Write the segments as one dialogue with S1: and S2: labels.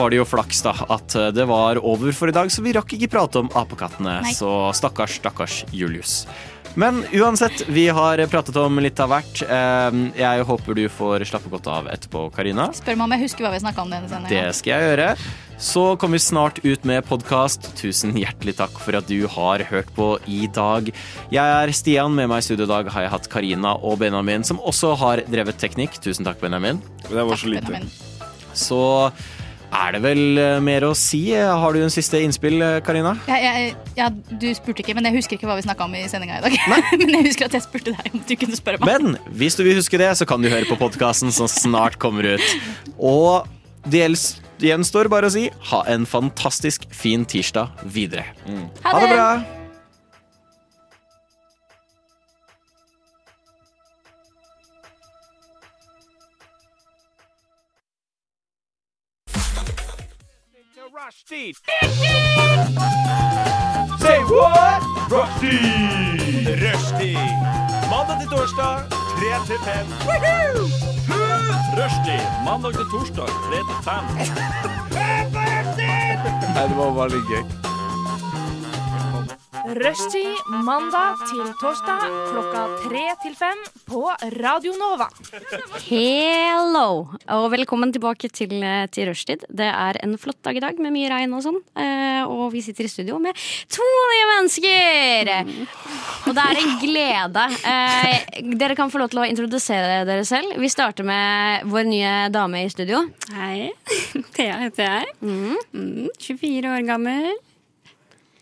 S1: var det jo flaks da, at eh, det var over for i dag, så vi rakk ikke prate om apekattene.
S2: Nei.
S1: Så stakkars, stakkars Julius. Men uansett, vi har pratet om litt av hvert. Eh, Jeg håper du får slappe godt av etterpå, Karina.
S2: Spør meg om jeg husker hva vi snakka om denne sendingen.
S1: Det skal jeg gjøre. Så kommer vi snart ut med podkast. Tusen hjertelig takk for at du har hørt på i dag. Jeg er Stian. Med meg i studio i dag har jeg hatt Karina og Benjamin, som også har drevet teknikk. Tusen takk, Benjamin.
S3: Men det var så
S2: Takk,
S3: lite.
S2: Benjamin.
S1: Så er det vel eh, mer å si. Har du en siste innspill, eh, Karina?
S2: Ja, jeg, ja, du spurte ikke, men jeg husker ikke hva vi snakka om i sendinga i dag. men jeg husker at jeg spurte deg om du kunne spørre meg.
S1: Men hvis du vil huske det, så kan du høre på podkasten som snart kommer ut. Og det gjelds- gjenstår bare å si ha en fantastisk fin tirsdag videre.
S4: Mm.
S1: Ha det bra!
S5: Rushdie. Say what? Rushdie. Rushdie. Mandag til torsdag, 3 til 5. Rushdie. Mandag til torsdag, 3 til 5.
S3: Nei, det var bare litt gøy.
S6: Rushtid mandag til torsdag klokka tre til fem på Radio Nova.
S7: Hello, og velkommen tilbake til, eh, til rushtid. Det er en flott dag i dag med mye regn og sånn. eh, Og vi sitter i studio med to nye mennesker! Og det er en glede. Eh, Dere kan få lov til å introdusere dere selv. Vi starter med vår nye dame i studio.
S8: Hei. Thea heter jeg. Mm, 24 år gammel.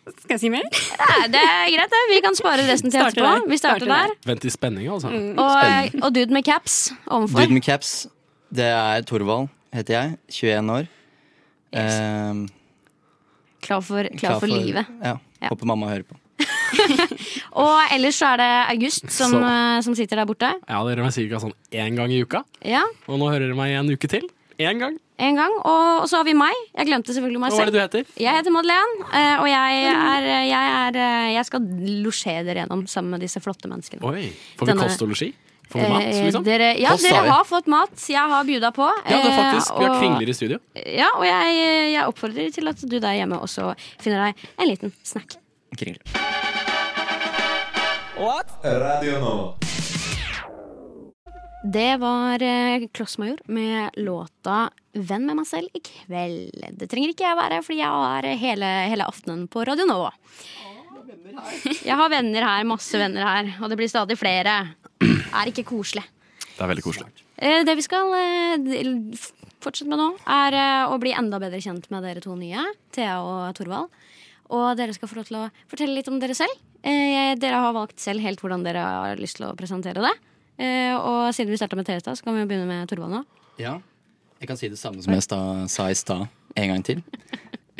S8: Skal jeg si mer?
S7: Nei, Eh, det er greit, det. Vi kan spare resten til
S8: Starter
S7: etterpå.
S8: der.
S7: Vi starter
S8: Starter
S7: der.
S4: Vent i spenning, altså.
S8: Mm.
S7: Og, og dude med caps ovenfor.
S9: Dude med caps. Det er Torvald, heter jeg. 21 år. Ehm,
S7: Klar for, klar for livet.
S9: Ja.
S7: Ja.
S9: Håper mamma hører på.
S7: Og ellers så er det August som,
S4: Så.
S7: eh, som sitter der borte.
S4: Ja, Dere har sikkert sånn én gang i uka,
S7: Ja
S4: og nå hører dere meg en uke til. Én gang.
S7: en gang. Og, og så har vi meg. Jeg glemte selvfølgelig meg
S4: Og Hva er
S7: selv.
S4: det du heter?
S7: Jeg heter Madeleine, eh, og jeg, er, jeg, er, eh, jeg skal losjere dere gjennom sammen med disse flotte menneskene.
S4: Oi, Får vi
S7: Denne-
S4: kost og losji? Får vi mat,
S7: Eh,
S4: liksom?
S7: dere, ja,
S9: Post har
S7: dere
S9: vi.
S7: har fått mat. Jeg har bjuda på.
S4: Ja, det er
S7: eh,
S4: faktisk. Vi har
S7: og-
S4: kringler i studio.
S7: Ja, og jeg, jeg oppfordrer til at du der hjemme også finner deg en liten snack.
S9: Kringle.
S7: Det var eh, Klossmajor med låta 'Venn med meg selv i kveld'. Det trenger ikke jeg være, fordi jeg har hele, hele aftenen på Radio Nova. Jeg har venner her, masse venner her, og det blir stadig flere. Er ikke koselig.
S4: Det er veldig koselig.
S7: Eh, Det vi skal eh, d- f- fortsette med nå, er eh, å bli enda bedre kjent med dere to nye. Thea og Torvald. Og dere skal få lov til å fortelle litt om dere selv. Eh, Dere har valgt selv helt hvordan dere har lyst til å presentere det. Eh, Og siden vi starta med Thea, i stad, så kan vi jo begynne med Torvald nå.
S9: Ja. Jeg kan si det samme som jeg sta, sa i stad, en gang til.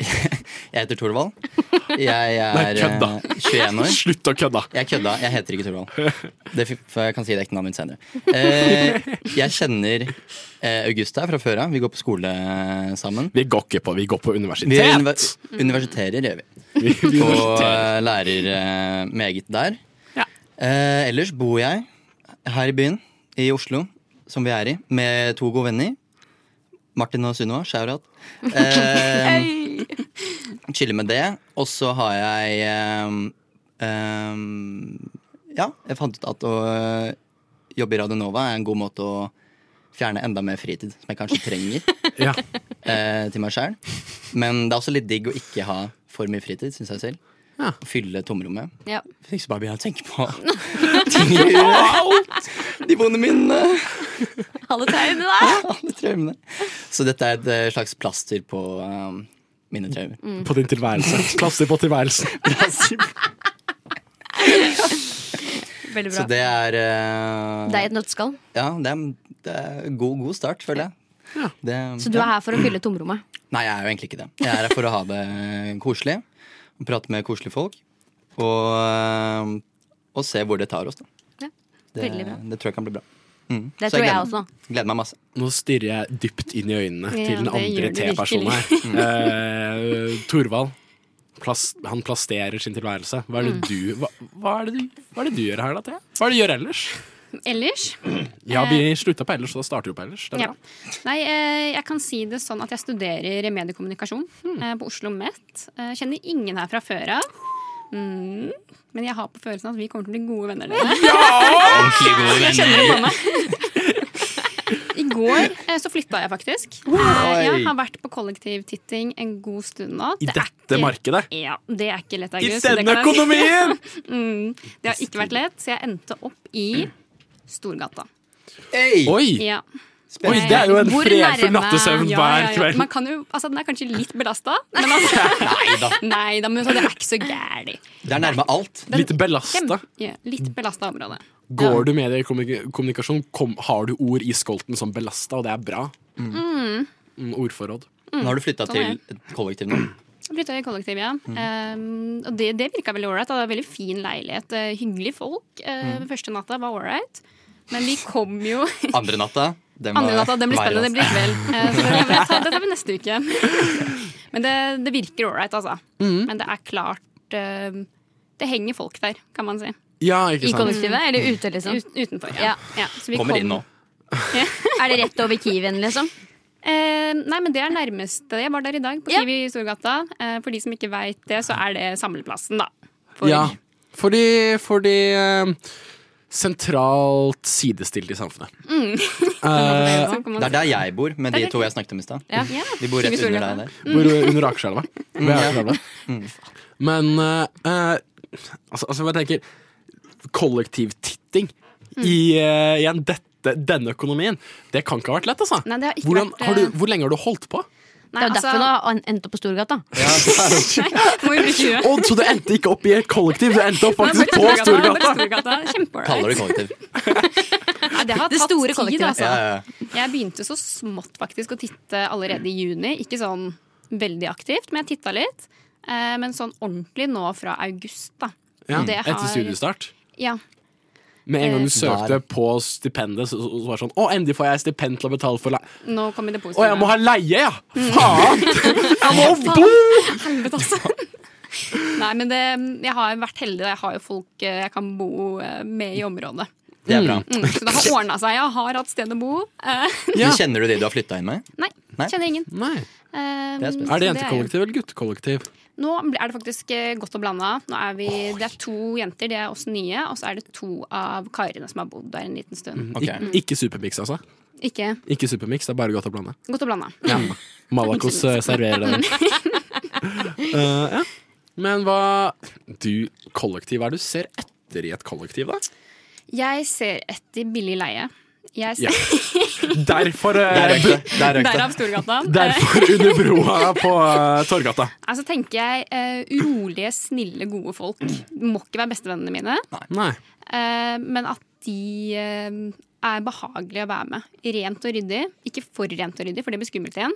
S9: jeg heter Torvald. Jeg
S4: Nei,
S9: er
S4: kødda.
S9: eh, 21 år.
S4: Slutt å kødde!
S9: Jeg kødda. Jeg heter ikke Torvald. Det, fi- for jeg kan si det ekte navnet mitt senere. Eh, jeg kjenner eh, Augusta fra før av. Vi går på skole eh, sammen.
S4: Vi går ikke på, vi går på
S9: Vi
S4: universitet!
S9: univer universiterer, gjør vi.
S4: Vi- vi
S9: og
S4: universiterer.
S9: eh, lærer eh, meget der.
S4: Ja.
S9: Eh, ellers bor jeg her i byen, i Oslo, som vi er i, med to gode venner. Martin og Sunniva, shout-out. Eh, chiller med det. Og så har jeg eh, eh, Ja, jeg fant ut at å eh, jobbe i Radio Nova er en god måte å fjerne enda mer fritid, som jeg kanskje trenger,
S4: Ja.
S9: eh, til meg sjæl. Men det er også litt digg å ikke ha for mye fritid, syns jeg selv.
S4: Ja.
S9: Å Fylle tomrommet.
S7: Ja.
S9: Jeg fikk så bare begynne å tenke på ting jeg gjør. De vonde minnene.
S7: Alle tegnene der!
S9: Alle traumene. Så dette er et eh, slags plaster på eh, mine traumer.
S8: Mm.
S4: På din tilværelse. Klasser på tilværelsen.
S7: Veldig
S9: Så
S7: bra.
S9: det er eh,
S7: Det er et nøtteskall.
S9: Ja, det er, det er god, god start, føler jeg. Det,
S7: Så du er her for å fylle tomrommet.
S9: Nei, jeg er jo egentlig ikke det. Jeg er her for å ha det koselig. og Prate med koselige folk. Og, eh, og se hvor det tar oss, da.
S7: Ja,
S9: Det,
S7: veldig bra.
S9: det tror jeg kan bli bra. Mm.
S7: Det
S9: Så
S7: tror jeg
S9: gleder-
S7: også.
S9: Gleder meg masse.
S4: Nå stirrer jeg dypt inn i øynene
S8: Ja,
S4: til den
S8: det Mm.
S4: andre
S8: gjør du
S4: T-personen her. Eh, Torvald. Plas, han
S8: Mm.
S4: plasterer sin tilværelse. Hva er det du hva, hva, er det du, hva er det du gjør her, da, Thea? Hva er det du gjør ellers?
S8: Mm. Ellers
S4: Ja, vi slutta på ellers, så da starter vi på ellers. Det er
S8: Eh. Ja.
S4: bra.
S8: Nei, eh, jeg kan si det sånn at jeg studerer mediekommunikasjon
S7: Hmm.
S8: eh, på Oslo Met. Eh, Kjenner ingen her fra før av. Mm. Men jeg har på følelsen at vi kommer til å bli gode venner. dere.
S9: Ordentlig gode venner.
S8: I går eh, så flytta jeg faktisk. Eh, Jeg har vært på kollektivtitting en god stund nå.
S4: I dette markedet.
S8: Ja, Det er ikke lett,
S4: I
S8: August. det
S4: denne
S8: kan jeg si.
S4: økonomien!
S8: Mm, det har ikke vært lett, så jeg endte opp i Storgata.
S9: Hey.
S4: Oi!
S8: Ja.
S4: Oi, det er jo en
S7: Hvor
S4: fredfull
S7: nærme-
S4: nattesøvn
S8: Ja, ja,
S4: hver
S8: ja.
S4: kveld.
S8: Man kan jo, altså, den er kanskje litt belasta, men altså, nei da. Men så det er ikke så gæli.
S9: Det er nærme alt.
S4: Litt belasta.
S8: Ja, litt belasta område.
S4: Går du med i kommunikasjon, kom, har du ord i skolten som belasta, og det er bra. Mm, ordforråd.
S9: Nå har du flytta
S8: Sånn er
S9: til et kollektiv nå.
S8: Flytta i kollektiv, ja.
S4: Mm.
S8: Um, og det, det virka veldig ålreit. Det var Veldig fin leilighet. Uh, hyggelige folk. Uh,
S4: Mm.
S8: Første natta var ålreit. Men vi kom jo
S9: Andre natta. Den
S8: Andre
S9: var
S8: natta, den blir
S9: verre,
S8: spennende. Det
S9: altså.
S8: blir i kveld. Uh, så det, det, tar, det tar vi neste uke. Men det, det virker ålreit, altså.
S9: Mm.
S8: Men det er klart uh, Det henger folk der, kan man si.
S4: Ja, ikke
S7: I
S4: sant.
S7: kollektivet eller ute, liksom?
S8: Ut, utenfor.
S7: Ja.
S8: Ja. Ja, så vi
S9: Kommer
S8: kom-
S9: inn nå.
S7: Er det rett over Kiwien, liksom?
S8: Eh, nei, men det er nærmeste. Jeg var der i dag, på
S7: Ja.
S8: Kiwi i Storgata. Eh, for de som ikke veit det, så er det samleplassen, da. For,
S4: Ja, fordi, fordi eh, sentralt sidestilt i samfunnet. Eh,
S8: Sånn kan man
S9: Det er
S8: si.
S9: der jeg bor, med de
S8: Der-
S9: to jeg snakket om i stad.
S7: Ja.
S9: De bor rett
S8: Kiwi
S9: under
S8: Storgata.
S9: deg der.
S4: Bor eh, under Akerselva. Ved Akerselva. Mm. Men eh, eh, altså, altså, jeg tenker Kollektivtitting
S8: Mm.
S4: i eh, igjen dette, denne økonomien, det kan ikke ha vært lett, altså.
S8: Nei, det har ikke
S4: Hvordan,
S8: vært,
S4: har du,
S8: eh,
S4: hvor lenge har du holdt på?
S7: Det
S8: Nei,
S7: er jo
S8: altså,
S7: derfor du har endt opp på Storgata.
S8: må vi bruke huet.
S4: Å, så du endte ikke opp i et kollektiv, du endte opp
S8: Nei,
S4: faktisk
S8: bare
S4: på
S8: Storgata,
S4: Storgata!
S8: bare Storgata. Kjempeålreit.
S9: Kaller det kollektiv.
S8: Nei, Det har
S7: Det
S8: tatt
S7: store
S8: tid,
S7: kollektivet.
S8: altså.
S9: Ja, ja, ja.
S8: Jeg begynte så smått faktisk å titte allerede i juni. Ikke sånn veldig aktivt, men jeg titta litt. Eh, men sånn ordentlig nå fra august, da.
S4: Ja,
S8: Det har-
S4: etter studiestart.
S8: Ja.
S4: Med en gang
S8: Eh,
S4: du søkte
S9: Der.
S4: på stipendet, så, så så var det sånn Å, endelig får jeg stipend til å betale for leie.
S8: Nå kommer det
S4: Å,
S8: positive.
S4: jeg må ha leie, ja! Faen! Jeg må bo!
S8: Helvete, altså. Nei, men det, jeg har vært heldig, og jeg har jo folk eh, jeg kan bo eh, med i området.
S9: Det er bra.
S8: Mm, så det har ordna seg. Jeg har hatt sted å bo. Eh,
S4: Ja.
S9: Men Kjenner du de du har flytta inn med?
S8: nei,
S9: Nei.
S8: kjenner ingen.
S4: Nei.
S8: Eh,
S9: Det er spesielt.
S8: så
S4: Er det
S8: jo-
S4: jentekollektiv eller guttekollektiv?
S8: Nå er det faktisk eh, godt og blanda. Nå er vi, det er to jenter, de er også nye. Og så er det to av karene som har bodd der en liten stund.
S9: Ok.
S4: Ik ikke supermix, altså.
S8: Ikke
S4: Ikke supermix, det er bare godt å blande.
S8: godt og blanda.
S4: Ja. Malakos eh, serverer det. Eh, ja. Men hva Du, kollektiv, hva er det du ser etter i et kollektiv, da?
S8: Jeg ser etter billig leie. Jeg
S4: Ja.
S8: ser,
S4: Derfor, eh,
S9: Der røyk det. Der røyk det.
S8: Derav Storgata. Eh,
S4: derfor under broa på eh, Torgata.
S8: altså tenker jeg eh, rolige, snille, gode folk. Må ikke være bestevennene mine.
S4: Nei.
S8: Eh, men at de eh, er behagelige å være med. Rent og ryddig. Ikke for rent og ryddig, for det blir skummelt igjen.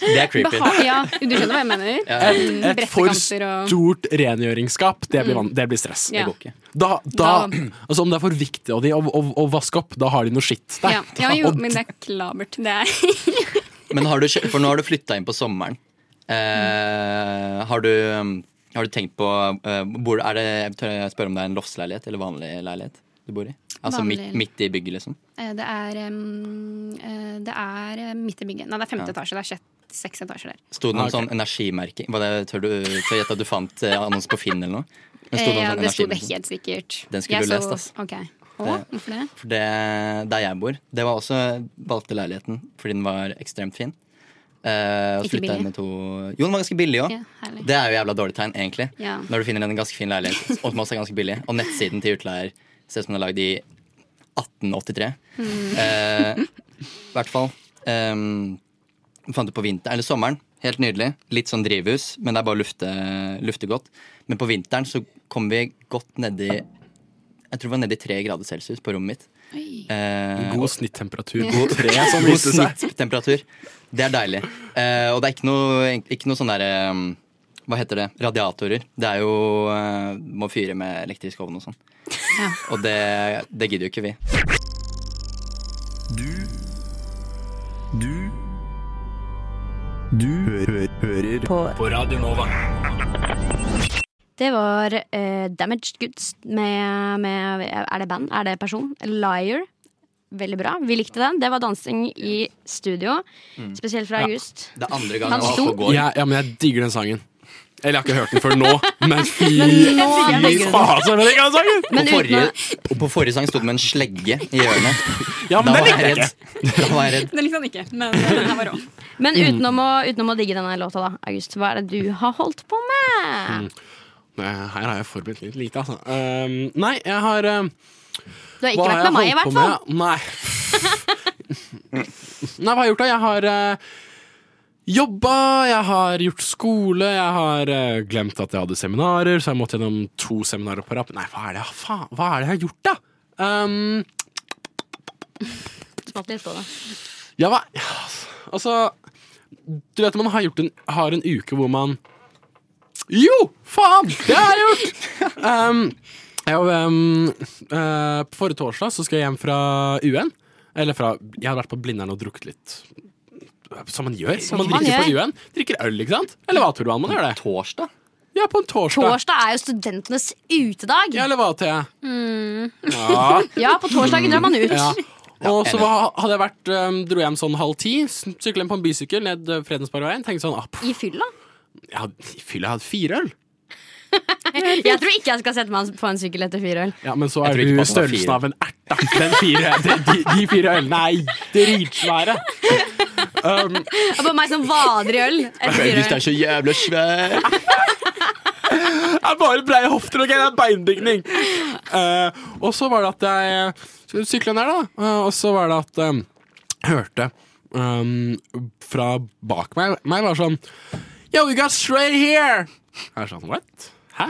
S9: Det er creepy.
S8: Beha ja, du skjønner hva jeg mener?
S9: Ja,
S4: Et,
S9: ja.
S4: et for
S8: Brettekanter og- Mm.
S4: stort rengjøringsskap, det blir, van det blir stress.
S8: Ja.
S9: Det går ikke.
S4: Da, da,
S8: Da-
S4: altså om det er for viktig å, de- å, å, å vaske opp, da har de noe skitt der.
S8: Ja, ja jo,
S4: Og
S8: men det er klabert. Det er
S9: Men har du, kjø- for nå har du flytta inn på sommeren. Eh, har, du, um, har du tenkt på eh, bor, Er det jeg tør jeg spørre om det er en loftsleilighet eller vanlig leilighet du bor i? Altså
S8: Vanlig.
S9: midt, midt i bygget, liksom?
S8: Eh, Det er, em, eh, det er eh, midt i bygget. Nei, det er femte
S9: Ja.
S8: etasje. Det er sjett- seks etasjer der.
S9: Sto det noe
S4: Ah, ok.
S9: sånn energimerking? Var det, tør du tør jeg gjette at du fant eh, annonse på Finn eller noe? Men sto
S8: Eh,
S9: noe
S8: Ja,
S9: sånn
S8: det sto det
S9: energimerking?
S8: helt sikkert.
S9: Den skulle
S8: Jeg
S9: du
S8: så-
S9: lest, ass.
S8: Ok. Å, hvorfor det?
S9: For det, der jeg bor. Det var også valgte leiligheten fordi den var ekstremt fin. Eh, og
S8: Ikke
S9: flytta inn
S8: billig.
S9: med to Jo, den var ganske billig òg.
S8: Ja, herlig.
S9: det er jo jævla dårlig tegn, egentlig.
S8: Ja.
S9: Når du finner en ganske fin leilighet, og som også er ganske billig. Og nettsiden til utleier ser ut som den er lagd i 1883.
S8: Mm.
S9: Eh, I hvert fall. Um, fant det på vinter, eller sommeren. Helt nydelig. Litt sånn drivhus, men det er bare å lufte, lufte godt. Men på vinteren så kom vi godt nedi Jeg tror det var nedi tre grader celsius på rommet mitt. Eh,
S4: God snittemperatur.
S9: God,
S4: som
S9: god
S4: viste seg.
S9: snitttemperatur. Det er deilig. Eh, og det er ikke noe, ikke noe sånn derre um, Hva heter det? Radiatorer. Det er jo eh, Må fyre med elektrisk ovn og sånn. Og det, det gidder jo ikke vi.
S7: Det var eh, Damaged Goods med, med Er det band? Er det person? Liar. Veldig bra. Vi likte den. Det var dansing i studio,
S4: Mm.
S7: spesielt fra August.
S9: Det er andre
S7: Han
S9: gangen
S7: sto-
S9: Apo går.
S4: Ja, ja, men jeg digger den sangen. Eller jeg har ikke hørt den før nå, men fy
S7: Nå er det
S4: fy
S7: grunn.
S4: faen, så digger den sangen!
S9: På
S7: Men uten
S9: forrige,
S7: å
S9: og på forrige sang sto det med en slegge i hjørnet.
S4: Ja,
S9: Da
S4: men
S9: var
S4: den
S9: jeg
S4: likte jeg ikke.
S9: redd. Da var jeg redd.
S8: Den likte han ikke, men den her var rå.
S7: Men utenom å, utenom å digge denne låta, da, August, hva er det du har holdt på
S4: Mm.
S7: med?
S4: Nei, Her har jeg forberedt litt lite, altså. Um, nei, jeg har um,
S7: Du har ikke vært med meg, i hvert fall.
S4: Nei. nei, hva har jeg gjort, da? Jeg har uh, jobba, jeg har gjort skole, jeg har eh, glemt at jeg hadde seminarer, så jeg måtte gjennom to seminarer på rappen. Nei, hva er det, faen, hva er det jeg har gjort, da? Um,
S7: Smatt litt på det.
S4: Ja, hva? ja, Altså Du vet man har, gjort en, har en uke hvor man Jo! Faen! Det har jeg gjort! Um, jeg, um, eh, på forrige torsdag så skal jeg hjem fra UN. Eller fra Jeg har vært på Blindern og drukket litt. Som man gjør.
S7: man
S4: man drikker
S7: gjør.
S4: på UN. Drikker øl, ikke sant? Eller hva tror du man gjør det?
S9: Torsdag?
S4: Ja, på en torsdag.
S7: Torsdag er jo studentenes utedag.
S4: Ja, eller hva, Thea? Ja.
S7: Ja, på torsdagen drar man ut.
S4: Ja. Og så
S9: enig.
S4: var- hadde jeg vært, um, dro hjem sånn halv ti, sykla hjem på en bysykkel ned eh, Fredensborgveien. Tenkte sånn ah, pff,
S7: I fylla.
S4: jeg hadde, i fylla, jeg hadde fire øl.
S7: Jeg tror ikke jeg skal sette meg på en sykkel etter fire øl.
S4: Ja, Men så er
S9: Jeg tror ikke
S4: du
S9: på at det var
S4: størrelsen
S9: fire.
S4: av en ert. da. Den fire, de, de, de fire ølene er dritsvære.
S7: Det er bare meg som vader i øl etter fire øl.
S9: er så jævla svær.
S4: Det er bare breie hofter og greier. Det er beinbygning. Eh, og så var det at jeg eh, sykla ned, da. eh, og så var det at eh, jeg hørte eh, fra bak meg Meg var sånn Yo, we got straight here! Jeg er sånn, what? Hæ?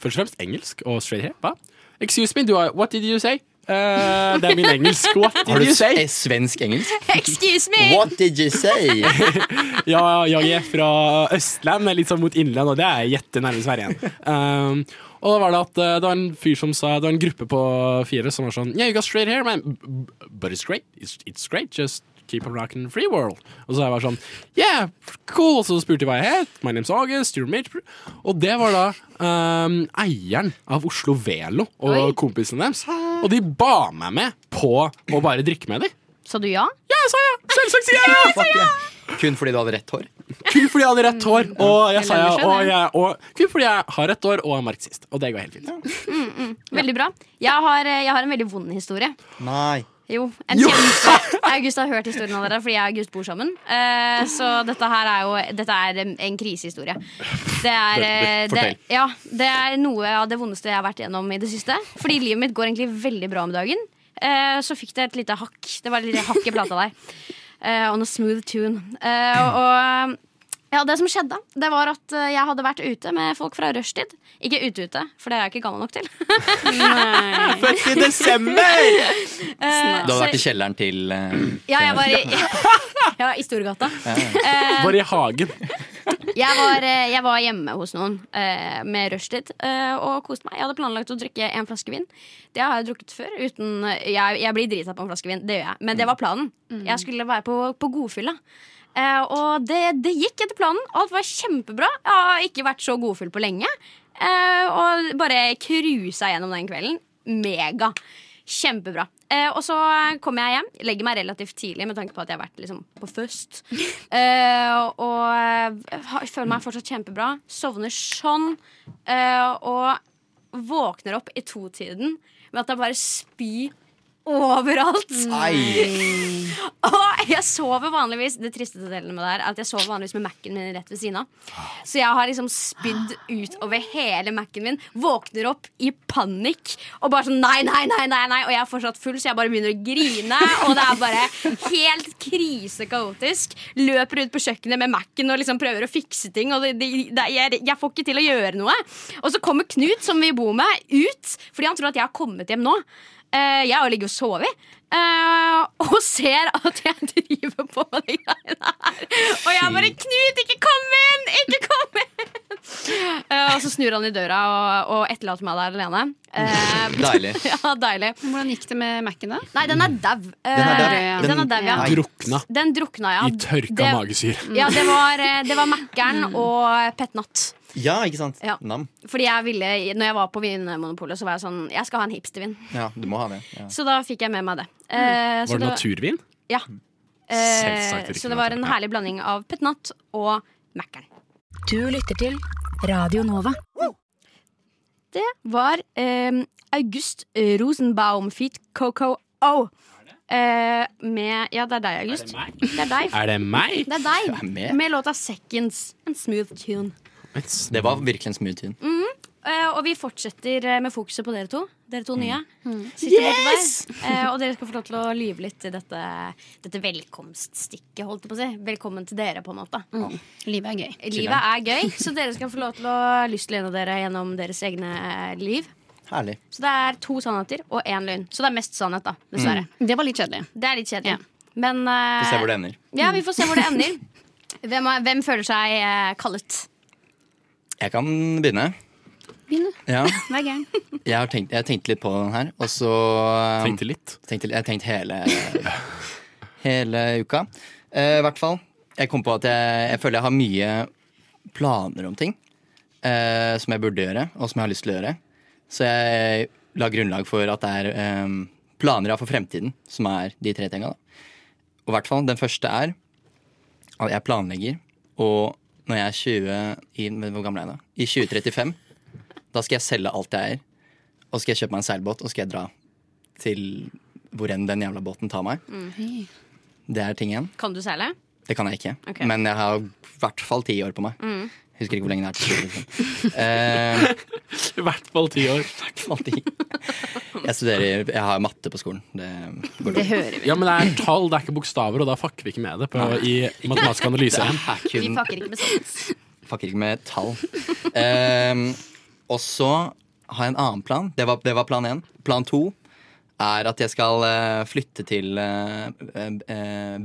S4: Først og fremst engelsk og straight here? Hva? Excuse me, do I, what did you say? Eh, det er min engelsk. What
S9: Har
S4: did
S9: du
S4: you say?
S9: s- svensk-engelsk?
S7: Excuse me!
S9: What did you say?
S4: Ja, jeg er fra Østland, men litt sånn mot innland, og det er jette nærmest hver igjen. Um, og da var det at uh, det var en fyr som sa Det var en gruppe på fire som var sånn Yeah, you got straight hair, man. But it's great. It's, it's great. Just keep on rocking free world. Og så jeg var sånn Yeah, cool. Så spurte de hva jeg het. My name's August. You're mate. Og det var da um, eieren av Oslo Velo og kompisene deres. Og de ba meg med på å bare drikke med dem.
S7: Sa du ja?
S4: Ja, jeg sa ja! Selvsagt sier jeg ja!
S9: Fuck yeah. Kun fordi du hadde rett hår?
S4: Kun fordi jeg hadde rett hår, og jeg sa ja,
S8: ellers,
S4: og
S8: ja.
S4: jeg, og, kun fordi jeg har rett hår og er marxist. Og det går helt fint.
S7: Veldig bra. Jeg har, eh, jeg har en veldig vond historie.
S9: Nei.
S7: Jo, en kjempe August har hørt historien allerede, fordi jeg og August bor sammen. Eh, så dette her er jo Dette er em, en krisehistorie. Det er, eh, det,
S4: Fortell.
S7: ja, det er noe av det vondeste jeg har vært gjennom i det siste. Fordi livet mitt går egentlig veldig bra om dagen. Eh, så fikk det et lite hakk. Det var et lite hakk i plata der. Eh, on a smooth tune. Eh, og ja, det som skjedde, det var at eh, jeg hadde vært ute med folk fra rushtid. Ikke ute-ute, for det er jeg ikke gammel nok til.
S4: Født i desember!
S7: Eh,
S9: Du hadde
S7: så-
S9: vært i kjelleren til eh,
S7: ja, jeg var i, ja, i Storgata. Eh,
S4: Bare i hagen.
S7: jeg, var, eh, jeg var hjemme hos noen eh, med rushtid eh, og koste meg. Jeg hadde planlagt å drikke en flaske vin. Det har jeg drukket før. Uten, eh, jeg, jeg blir drita på en flaske vin, det gjør jeg. Men det var planen. Jeg skulle være på, på godfylla. Eh, og det, det gikk etter planen. Alt var kjempebra. Jeg har ikke vært så godfull på lenge. Eh, og bare cruisa gjennom den kvelden. Mega. Kjempebra. Eh, og så kommer jeg hjem, legger meg relativt tidlig med tanke på at jeg har vært liksom, på først. Eh, og eh, har- føler meg fortsatt kjempebra. Sovner sånn. Eh, og våkner opp i totiden med at det er bare spy overalt.
S9: Nei.
S7: Og jeg sover vanligvis Det tristeste delen med det her er at jeg sover vanligvis med Mac-en min rett ved siden av. Så jeg har liksom spydd utover hele Mac-en min. Våkner opp i panikk og bare sånn nei, nei, nei, nei, nei. Og jeg er fortsatt full, så jeg bare begynner å grine. Og det er bare helt krisekaotisk. Løper ut på kjøkkenet med Mac-en og liksom prøver å fikse ting. Og det, det, det, jeg, jeg får ikke til å gjøre noe. Og så kommer Knut, som vi bor med, ut fordi han tror at jeg har kommet hjem nå. Eh, jeg har ligget og sovet. eh, og ser at jeg driver på med de greiene her. Og jeg bare 'Knut, ikke kom inn! Ikke kom inn!' Eh, og så snur han i døra og, og etterlater meg der alene. Eh,
S9: Deilig.
S7: ja, deilig.
S8: Hvordan gikk det med Mac-en, da?
S7: Nei, den er dau. Eh,
S9: Den er dau.
S7: den
S9: Den-
S7: er dau, ja.
S9: Nei.
S4: Drukna
S7: Den drukna, ja.
S4: i tørka
S7: Det-
S4: magesyr.
S7: Ja, det var, eh, det var Mækkern og Pet Natt.
S9: Ja, ikke sant?
S7: Ja.
S9: Nam.
S7: Fordi jeg ville, når jeg var på Vinmonopolet, så var jeg sånn Jeg skal ha en hipstervin.
S9: Ja, du må ha det. Ja.
S7: Så da fikk jeg med meg det. Eh, så
S4: Var det naturvin?
S7: Ja.
S4: Selvsagt
S7: Eh,
S4: ikke
S7: så det var en
S4: naturvin.
S7: herlig blanding av Pet Natt og Mækkern.
S3: Du lytter til Radio Nova.
S7: Det var eh, August Rosenbaum feat. Coco O. Eh, med Ja, det er deg, August. Det er deg.
S4: Er det meg?
S7: Det er deg.
S9: Jeg er med.
S7: Med låta 'Seconds'. En smooth tune.
S9: Det var virkelig en smooth tune.
S7: Eh, og vi fortsetter eh, med fokuset på dere to. Dere to nye.
S3: Mm.
S7: Sitter borte der. Eh, og dere skal få lov til å lyve litt i dette, dette velkomststikket, holdt jeg på å si. Velkommen til dere, på en måte.
S8: Livet er gøy.
S7: Livet er gøy, så dere skal få lov til å lystløgne dere gjennom deres egne eh, liv.
S9: Herlig.
S7: Så det er to sannheter og én løgn. Så det er mest sannhet, da. Dessverre.
S8: Det var litt kjedelig.
S7: Det er litt kjedelig. Men
S9: Mm. Vi
S7: eh,
S9: ser hvor det ender.
S7: ja, vi får se hvor det ender. Hvem, er, hvem føler seg eh, kallet?
S9: Jeg kan begynne.
S8: Begynn, du.
S9: Ja,
S8: Vær gæren.
S9: jeg har tenkt, jeg tenkte litt på den her, og så
S4: Tenkte litt.
S9: tenkte, Jeg har tenkt hele, hele uka. Eh, I hvert fall. Jeg kom på at jeg, jeg føler jeg har mye planer om ting eh, som jeg burde gjøre, og som jeg har lyst til å gjøre. Så jeg la grunnlag for at det er eh, planer jeg har for fremtiden, som er de tre tinga. da. Og i hvert fall den første er at jeg planlegger, og når jeg er 20 i, Hvor gammel er jeg da? I 2035, da skal jeg selge alt jeg eier, og så skal jeg kjøpe meg en seilbåt, og så skal jeg dra til hvor enn den jævla båten tar meg. Det er ting igjen.
S7: Kan du seile?
S9: Det kan jeg ikke.
S7: Ok.
S9: Men jeg har i hvert fall ti år på meg. Husker ikke hvor lenge det er. til 2035. Eh,
S4: I hvert fall ti år.
S9: Alltid. Jeg studerer Jeg har matte på skolen. Det går
S7: Det
S9: dårlig.
S7: hører vi.
S4: Ja, men det er tall, det er ikke bokstaver, og da fucker vi ikke med det på, i matematisk analyse.
S9: er
S7: Vi
S9: kun
S7: fucker ikke med sans.
S9: Fucker ikke med tall. Ehm, og så har jeg en annen plan. Det var, det var plan én. Plan to er at jeg skal eh, flytte til uh,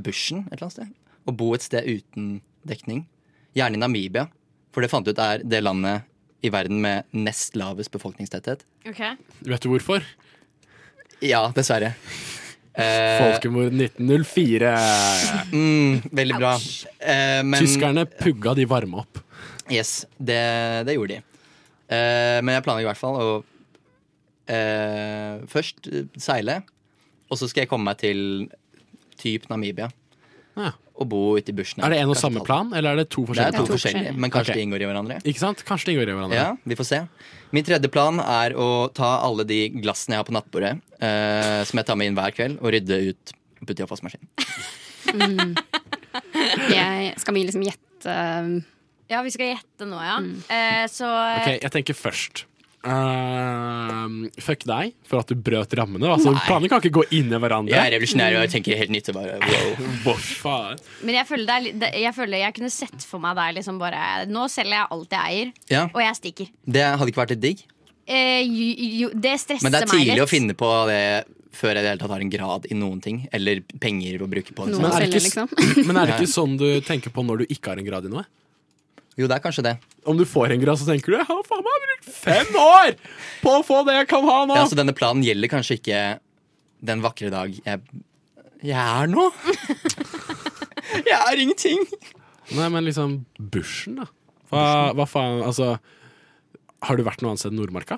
S9: bushen et eller annet sted. Og bo et sted uten dekning. Gjerne i Namibia, for det fant jeg ut er det landet i verden med nest lavest befolkningstetthet.
S4: Vet du hvorfor?
S9: Ja, dessverre. Eh,
S4: Folkemord 1904.
S9: mm, veldig bra. Eh, men-
S4: Tyskerne pugga, de varma opp.
S9: Yes, det, det gjorde de. Eh, men jeg planlegger i hvert fall å eh, først eh, seile, og så skal jeg komme meg til typ Namibia.
S4: Ja.
S9: Og bo ute i bushen.
S4: Er det en og
S9: Kanskje
S4: samme
S9: tolv.
S4: plan, eller er det to
S9: Det er
S4: forskjellige?
S9: to
S4: planer?
S9: forskjellige, men kanskje
S4: Ok.
S9: de inngår i hverandre.
S4: Ikke sant? Kanskje de går i hverandre.
S9: Ja, vi får se. Min tredje plan er å ta alle de glassene jeg har på nattbordet, eh, som jeg tar med inn hver kveld, og rydde ut og putte i oppvaskmaskinen.
S8: Jeg skal vi liksom gjette um,
S7: Ja, vi skal gjette nå, ja.
S9: Mm.
S7: Eh, så eh,
S4: Ok, jeg tenker først. Ehm, fuck deg for at du brøt rammene. Altså,
S9: Nei.
S4: planene kan ikke gå inn i
S9: Jeg er
S4: hverandre.
S9: revolusjonær og jeg tenker helt nytt. og Bare, wow.
S4: Hva faen?
S7: Men jeg føler, det er, litt- det- jeg føler jeg kunne sett for meg deg liksom bare Nå selger jeg alt jeg eier,
S9: Ja,
S7: og jeg stikker.
S9: Det hadde ikke vært litt digg.
S7: Eh, jo, jo, det stresser meg
S9: Men det
S7: litt.
S9: er tidlig å finne på det før jeg i det hele tatt har en grad i noen ting. Eller penger å bruke på det.
S8: noe å
S4: er det
S8: selge,
S4: ikke
S8: liksom?
S4: Men er det ikke sånn du tenker på når du ikke har en grad i noe?
S9: liksom. Jo, det er kanskje det.
S4: Om du får en grad, så tenker du Jeg har faen meg brukt fem år på å få det jeg kan ha nå!
S9: Ja, så denne planen gjelder kanskje ikke den vakre dag jeg, jeg er nå. Jeg er ingenting.
S4: Nei, men liksom bushen, da. Hva, hva faen, altså Har du vært noe annet sted enn Nordmarka?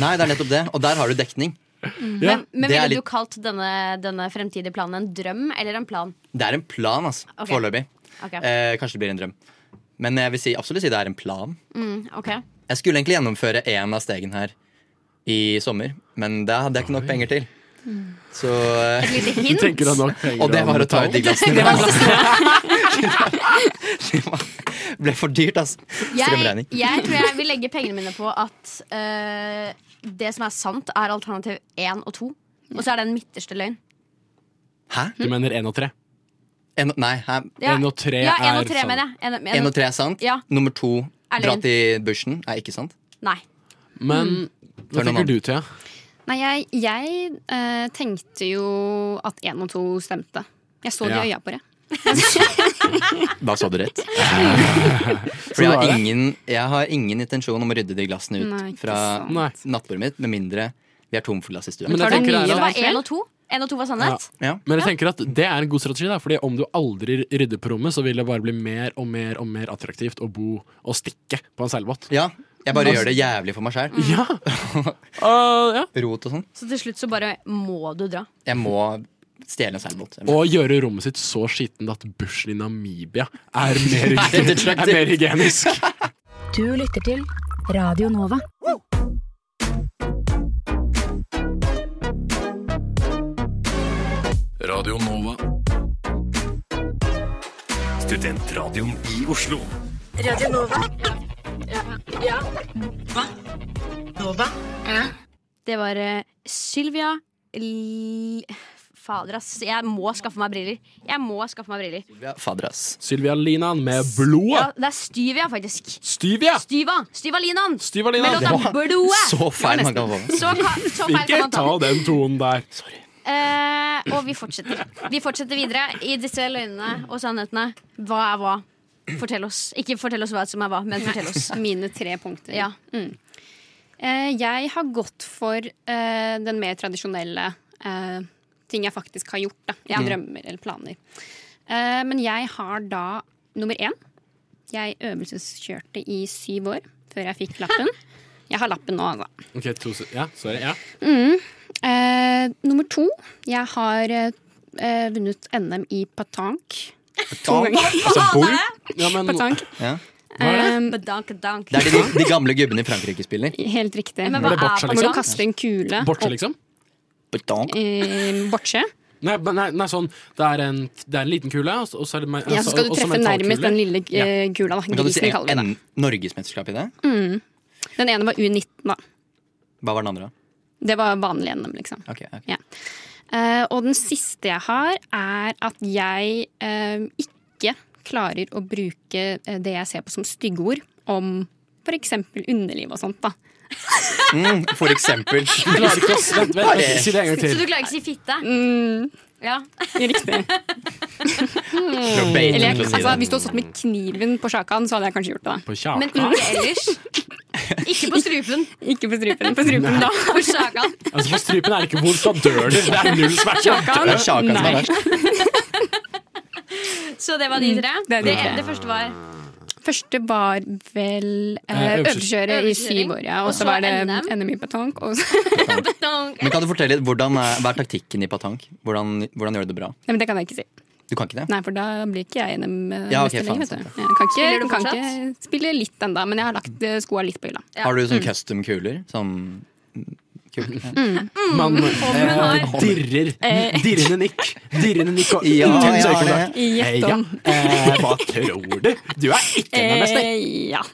S9: Nei, det er nettopp det. Og der har du dekning.
S4: Ja.
S7: Men, men
S9: Det er
S7: ville du
S9: litt-
S7: kalt denne, denne fremtidige planen en drøm eller en plan?
S9: Det er en plan, altså.
S7: Ok.
S9: Foreløpig.
S7: Ok,
S9: Eh, kanskje det blir en drøm. Men jeg vil si, absolutt si det er en plan.
S7: mm, ok.
S9: Jeg skulle egentlig gjennomføre én av stegene her i sommer, men det hadde jeg ikke nok penger til.
S7: Mm.
S9: Så eh,
S7: Et lite
S4: Du
S7: hint.
S4: tenker deg nok penger
S9: Og det
S4: og
S9: var å ta ut de
S4: metall.
S9: glassene. Det var- Det ble for dyrt, ass.
S7: jeg,
S9: Strømregning.
S7: jeg tror jeg vil legge pengene mine på at eh, det som er sant, er alternativ én og to. Og så er det den midterste løgn.
S9: Hæ?
S4: Du mener én og tre?
S9: En, nei, hæ?
S7: Ja,
S4: En og tre
S7: ja, en og
S4: er
S7: tre,
S4: sant.
S7: mener jeg. En, en,
S9: En og tre er sant.
S7: Ja.
S9: Nummer to
S7: Er
S9: dra
S7: løgn.
S9: til bushen er ikke sant.
S7: Nei.
S4: Men hva
S9: Før noen
S4: tenker du, Thea?
S8: Nei, jeg, jeg eh, tenkte jo at én og to stemte. Jeg så det
S4: Ja.
S8: i øya på det.
S9: Da sa du rett. For
S4: Så
S9: jeg
S4: da
S9: har,
S4: er det.
S9: ingen, jeg har ingen intensjon om å rydde de glassene ut
S8: Nei, ikke
S9: fra
S8: sant.
S4: Nei.
S9: nattbordet mitt, med mindre vi er tom for glass i stua.
S4: Men
S7: Var
S4: jeg
S7: det
S4: tenker
S7: mye
S4: det er
S7: som
S4: at-
S7: var én og to? Én og to var sannhet?
S9: ja.
S4: Men jeg tenker at det er en god strategi, da, Fordi om du aldri rydder på rommet, så vil det bare bli mer og mer og mer attraktivt å bo og stikke på en seilbåt.
S9: ja, jeg bare gjør det jævlig for meg sjæl.
S4: Ja. Uh, ja.
S9: Rot og sånn.
S7: Så til slutt så bare må du dra.
S9: Jeg må stjele en seilbåt. Jeg må-
S4: Og gjøre rommet sitt så skittent at bushen i Namibia er mer,
S9: Nei, det tror jeg ikke.
S4: er mer hygienisk.
S3: Du lytter til Radio Nova.
S10: Radio Nova. Studentradioen i Oslo.
S7: Det var eh, Sylvia L... Fader, ass. Jeg må skaffe meg briller. Jeg må skaffe meg briller.
S9: Ja, Fader, ass.
S4: Sylvia Linan med
S7: Ja,
S4: blodet.
S7: det er Styvia, faktisk.
S4: Styvia!
S7: Styva! Styva Linan!
S4: Styva
S7: Med
S4: Linan.
S7: låta Blodet!
S9: Så feil
S7: Det var
S9: man kan
S7: nesten.
S9: få.
S7: Så, ka- så feil
S4: Ikke
S7: kan man ta.
S4: ta den tonen der.
S7: Eh, og vi fortsetter. Vi fortsetter videre i disse løgnene og sannhetene. Hva er hva? Fortell oss. Ikke fortell oss hva som er hva, men fortell oss.
S8: Mine tre punkter.
S7: Ja.
S8: Mm. Eh, jeg har gått for eh, den mer tradisjonelle eh, ting jeg faktisk har gjort. Da, i Drømmer eller planer. Eh, men jeg har da nummer én. Jeg øvelseskjørte i syv år før jeg fikk lappen. Jeg har lappen nå, altså.
S4: Ok, to se- ja, sorry, ja.
S8: Eh, nummer to. Jeg har eh, eh, vunnet NM i patank.
S9: Altså, bol.
S4: Ja, men,
S8: Patank.
S9: Ja.
S8: Eh,
S7: Badank, badank.
S9: Det er de, de gamle gubbene i Frankrike spiller.
S8: helt riktig.
S7: Men hva
S4: Var det
S7: er
S8: Hvor du
S4: boccia, liksom?
S7: badank?
S8: kaster en kule
S4: Bortsett, liksom?
S9: Betank.
S8: eh, bortsje.
S4: Nei, men nei, nei sånn, det er, en, det er en liten kule, og så, og så er det me-
S8: Ja,
S4: altså,
S8: så skal du
S4: også
S8: treffe
S4: metallkule.
S8: nærmest den lille
S4: Ja.
S8: eh, kula. Da.
S9: Men Kan du si
S8: Grisen kaller vi det.
S9: en norgesmesterskap i det?
S8: Den ene var U19, da.
S9: Hva var den andre?
S8: Det var vanlig NM, liksom.
S9: Ok, ok.
S8: Ja. Eh, og den siste jeg har, er at jeg eh, ikke klarer å bruke eh, det jeg ser på som styggeord om f.eks. underliv og sånt. da.
S9: Mm, for eksempel.
S4: Du klarer ikke å s- Vent, vent, vent, si det en gang
S7: Så du
S4: til.
S7: klarer ikke å si fitte?
S8: Mm.
S7: Ja.
S8: Riktig.
S9: Eller
S8: Eller jeg,
S9: sånn.
S8: altså, hvis du hadde stått med kniven på sjakan, så hadde jeg kanskje gjort det.
S4: På kjaka.
S7: Men ikke ellers. Ikke på strupen.
S8: da. Ikke på strupen. På strupen da.
S7: På sjakan.
S4: Altså, på strupen er det ikke vondt, da dør du. Det er null smerte.
S9: Det
S8: Sjakan?
S9: er sjakan som er
S8: Nei.
S9: verst.
S7: Så det var de tre.
S8: det er de
S7: Det,
S8: tre.
S7: det første var
S8: Første var vel eh,
S4: Eh,
S8: øvelseskjøre i
S7: øvelseskjøring,
S8: syv år, ja.
S7: og
S8: Og så
S7: så
S8: var det
S7: NM.
S8: NM i batonk. Og så
S7: badank.
S9: Men kan du fortelle litt, hvordan er, Hva er taktikken i patank? Hvordan, hvordan gjør du det bra?
S8: Nei, men det kan jeg ikke si.
S9: Du kan ikke det?
S8: Nei, for da blir ikke jeg NM-mester
S9: Ja, ok, faen,
S8: lenger, vet
S9: sant
S8: du.
S9: det.
S8: Jeg kan ikke,
S7: Spiller du
S8: kan
S7: fortsatt?
S8: ikke spille litt ennå, men jeg har lagt eh, skoa litt på hylla.
S7: Ja.
S9: Har du sånn custom kuler? Sånn mm, kul- ja.
S4: Man eh,
S9: har.
S4: dirrer.
S7: Eh.
S4: Dirrende nikk. Dirrende nikk og
S9: Ja,
S4: uten
S9: jeg har
S4: øyekontakt.
S9: det.
S4: Eh, ja. Eh, hva tror du? Du er ikke en av mester.
S8: ja.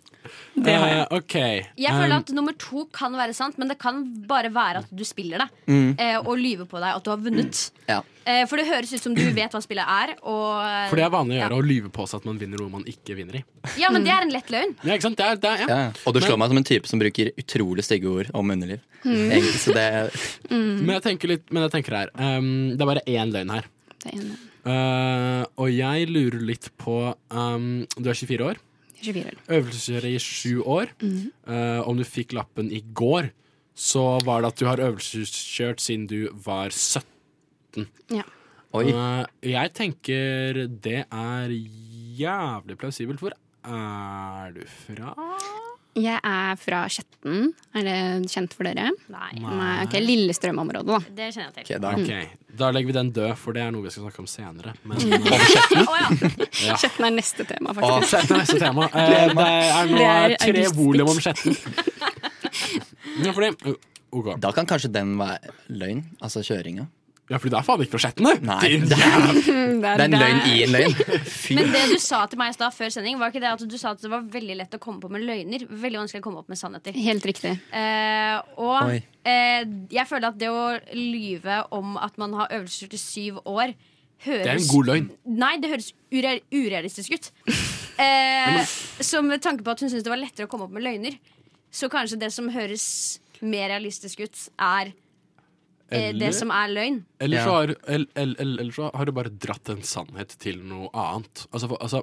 S4: Eh, ok.
S7: Eh, Jeg føler
S4: Um,
S7: at nummer to kan være sant, men det kan bare være at du spiller det.
S8: Mm.
S7: Eh, og lyve på deg at du har vunnet.
S9: Ja.
S7: Eh, for det høres ut som du vet hva spillet er. Og,
S4: For det er vanlig å gjøre å lyve på seg at man vinner noe man ikke vinner i.
S7: ja, men det
S4: Mm.
S7: er en lett løgn.
S4: Ja, ikke sant? Det er, det er, ja.
S9: Ja. Og du slår meg som en type som bruker utrolig stygge ord om underliv. Egentlig, så det
S4: Men jeg tenker litt Men jeg tenker her ehm, Det er bare én løgn her.
S8: Det er en-
S4: Eh, og jeg lurer litt på ehm, Du er 24 år.
S8: 24 år.
S4: Øvelseskjører i sju år.
S8: Mhm.
S4: Eh, om du fikk lappen i går, så var det at du har øvelseskjørt siden du var 17.
S9: Oi.
S4: Eh, jeg tenker det er jævlig plausibelt. Hvor er du fra?
S8: Jeg er fra Skjetten. Er det kjent for dere?
S7: Nei,
S8: Nei, ok, Lillestrøm-området, da.
S7: det kjenner jeg til.
S9: Ok, da.
S4: Ok, Da legger vi den død, for det er noe vi skal snakke om senere. Men
S8: Mm.
S7: Å, ja.
S8: Skjetten er neste tema,
S9: Å,
S8: faktisk.
S4: Skjetten er neste tema. Eh, det er nå
S8: Det er
S4: tre
S8: august.
S4: volum om Skjetten. Ja, fordi OK.
S9: Da kan kanskje den være løgn. Altså kjøringa.
S4: Ja, fordi det er faen ikke fra Skjetten, det.
S9: Nei,
S4: Din
S9: det er, det er en løgn i en løgn.
S7: Men det du sa til meg i stad før sending, var ikke det at du sa at det var veldig lett å komme på med løgner. Veldig vanskelig å komme opp med sannheter.
S8: Helt riktig.
S7: Eh, og
S9: Oi.
S7: eh, jeg føler at det å lyve om at man har øvelseskjørt i syv år, høres
S4: Det er en god løgn.
S7: Nei, det høres ure- urealistisk ut. Eh, så med tanke på at hun syntes det var lettere å komme opp med løgner, så kanskje det som høres mer realistisk ut, er eh,
S4: Eller-
S7: det som er løgn.
S4: Eller så,
S9: Ja.
S4: har, el- el- el- eller så har du bare dratt en sannhet til noe annet. Altså, for, altså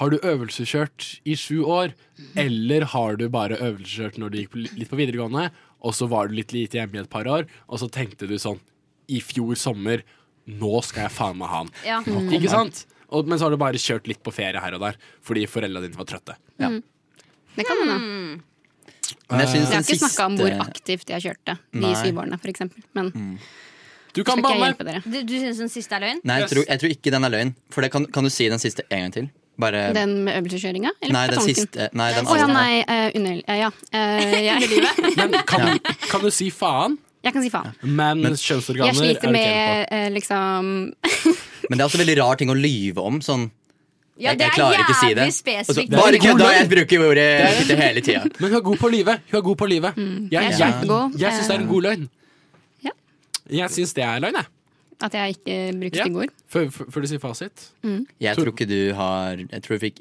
S4: Har du øvelseskjørt i sju år, eller har du bare øvelseskjørt når du gikk på- litt på videregående, og så var du litt lite hjemme i et par år, og så tenkte du sånn I fjor sommer, nå skal jeg faen meg ha den.
S7: Ja. Mm.
S4: Ikke sant? Og, men så har du bare kjørt litt på ferie her og der fordi foreldra dine var trøtte.
S8: Mm. Det kan hende.
S9: Hmm.
S4: Men
S8: Jeg
S4: jeg synes
S8: har
S4: den
S8: ikke snakka om hvor
S4: siste-
S8: aktivt jeg kjørte de
S9: Nei. Hmm.
S8: syv årene, for eksempel. Men
S4: Du
S8: kan Skal ikke jeg banne. hjelpe dere?
S7: Du, du syns den siste er løgn?
S9: Nei, jeg tror, jeg tror ikke den er løgn. For det kan, kan du si den siste en gang til? Bare
S8: den med øvelseskjøringa? eller
S9: Nei, den
S8: petanken?
S9: siste. Nei, den
S8: Å ja,
S9: andre.
S8: nei. eh, under, eh, ja. Eh, jeg,
S4: Kan, kan du si faen?
S8: jeg kan si faen.
S4: Men,
S8: Jeg
S4: kjønnsorganer er du
S8: sliter
S4: ikke enig på.
S8: med eh, liksom
S9: Men det er også veldig rar ting å lyve om. Sånn
S7: Ja,
S9: jeg,
S7: det
S9: jeg
S7: er
S9: klarer ikke å si det.
S7: jævlig spesifikt.
S9: Og så,
S7: Det er
S9: bare
S7: veldig god
S9: kødda!
S7: løgn.
S9: Jeg bruker jo ordet fitte hele tida.
S4: Men hun er god på å lyve. Hun er god på å lyve. Jeg,
S8: jeg eh, er
S4: jeg, jeg,
S8: kjempegod.
S4: syns det er en god løgn.
S8: Ja.
S4: Jeg syns det er løgn, jeg.
S8: At jeg ikke bruker
S4: Ja.
S8: stygge ord.
S4: Før, før før du sier fasit.
S8: Mm.
S9: Jeg tror ikke du har Jeg tror du fikk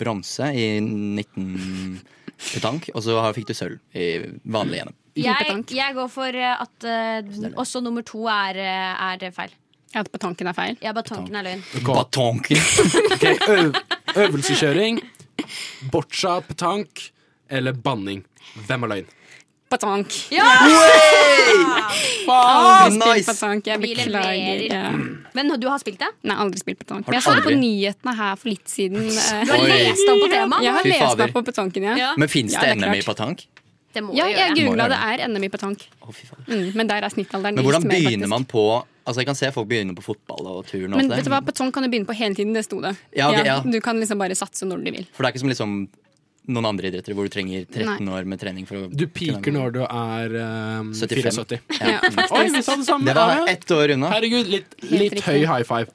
S9: bronse i 19 petank, og så har- fikk du sølv i vanlig gjennom.
S7: Jeg, jeg går for eh, at eh, også nummer to er, eh, er feil.
S8: At petanken er feil?
S7: Ja, batongen er løgn.
S9: Batonken.
S4: Ok, øv, øvelseskjøring, boccia, petank eller banning. Hvem er løgn?
S8: Patank.
S7: Ja!
S8: Aldri spilt
S9: Nice.
S8: patank. Jeg
S7: Vi
S8: beklager.
S7: leverer.
S8: Ja.
S7: Men du har spilt det?
S8: Nei, aldri spilt petank.
S9: Har
S8: Men
S9: du
S8: jeg så det på
S9: aldri?
S8: nyhetene her for litt siden. eh.
S7: Du har
S9: Oi.
S7: lest om på temaet?
S8: Jeg har
S9: Fy
S8: lest
S9: fader.
S8: meg på petanken, ja.
S7: Ja.
S9: Men fins
S8: Ja,
S9: det
S8: det er
S9: NM i
S8: klart.
S9: petank?
S7: Det må
S8: Ja,
S7: du
S8: jeg
S7: gjøre.
S8: googla
S9: Må
S8: det er NM i petank.
S9: Å, fy faen.
S8: Mm, men der er snittalderen
S9: Men
S8: litt
S9: hvordan
S8: mer,
S9: begynner
S8: faktisk.
S9: man på Altså Jeg kan se folk begynner på fotball og turn. og
S8: Men
S9: alt
S8: vet
S9: det.
S8: du hva, Betong kan du begynne på hele tiden. Det sto det.
S9: Ja, ok, ja.
S8: Du kan liksom bare satse når du vil.
S9: For det er ikke som liksom noen andre idretter hvor du trenger 13 år med trening for å
S4: Du piker når du er um,
S9: 75.
S4: 74.
S9: Ja.
S4: Oi, vi sa det samme!
S9: Det var
S4: Ja, ja.
S9: ett år unna.
S4: Herregud, litt, litt høy
S8: riktig.
S4: high five.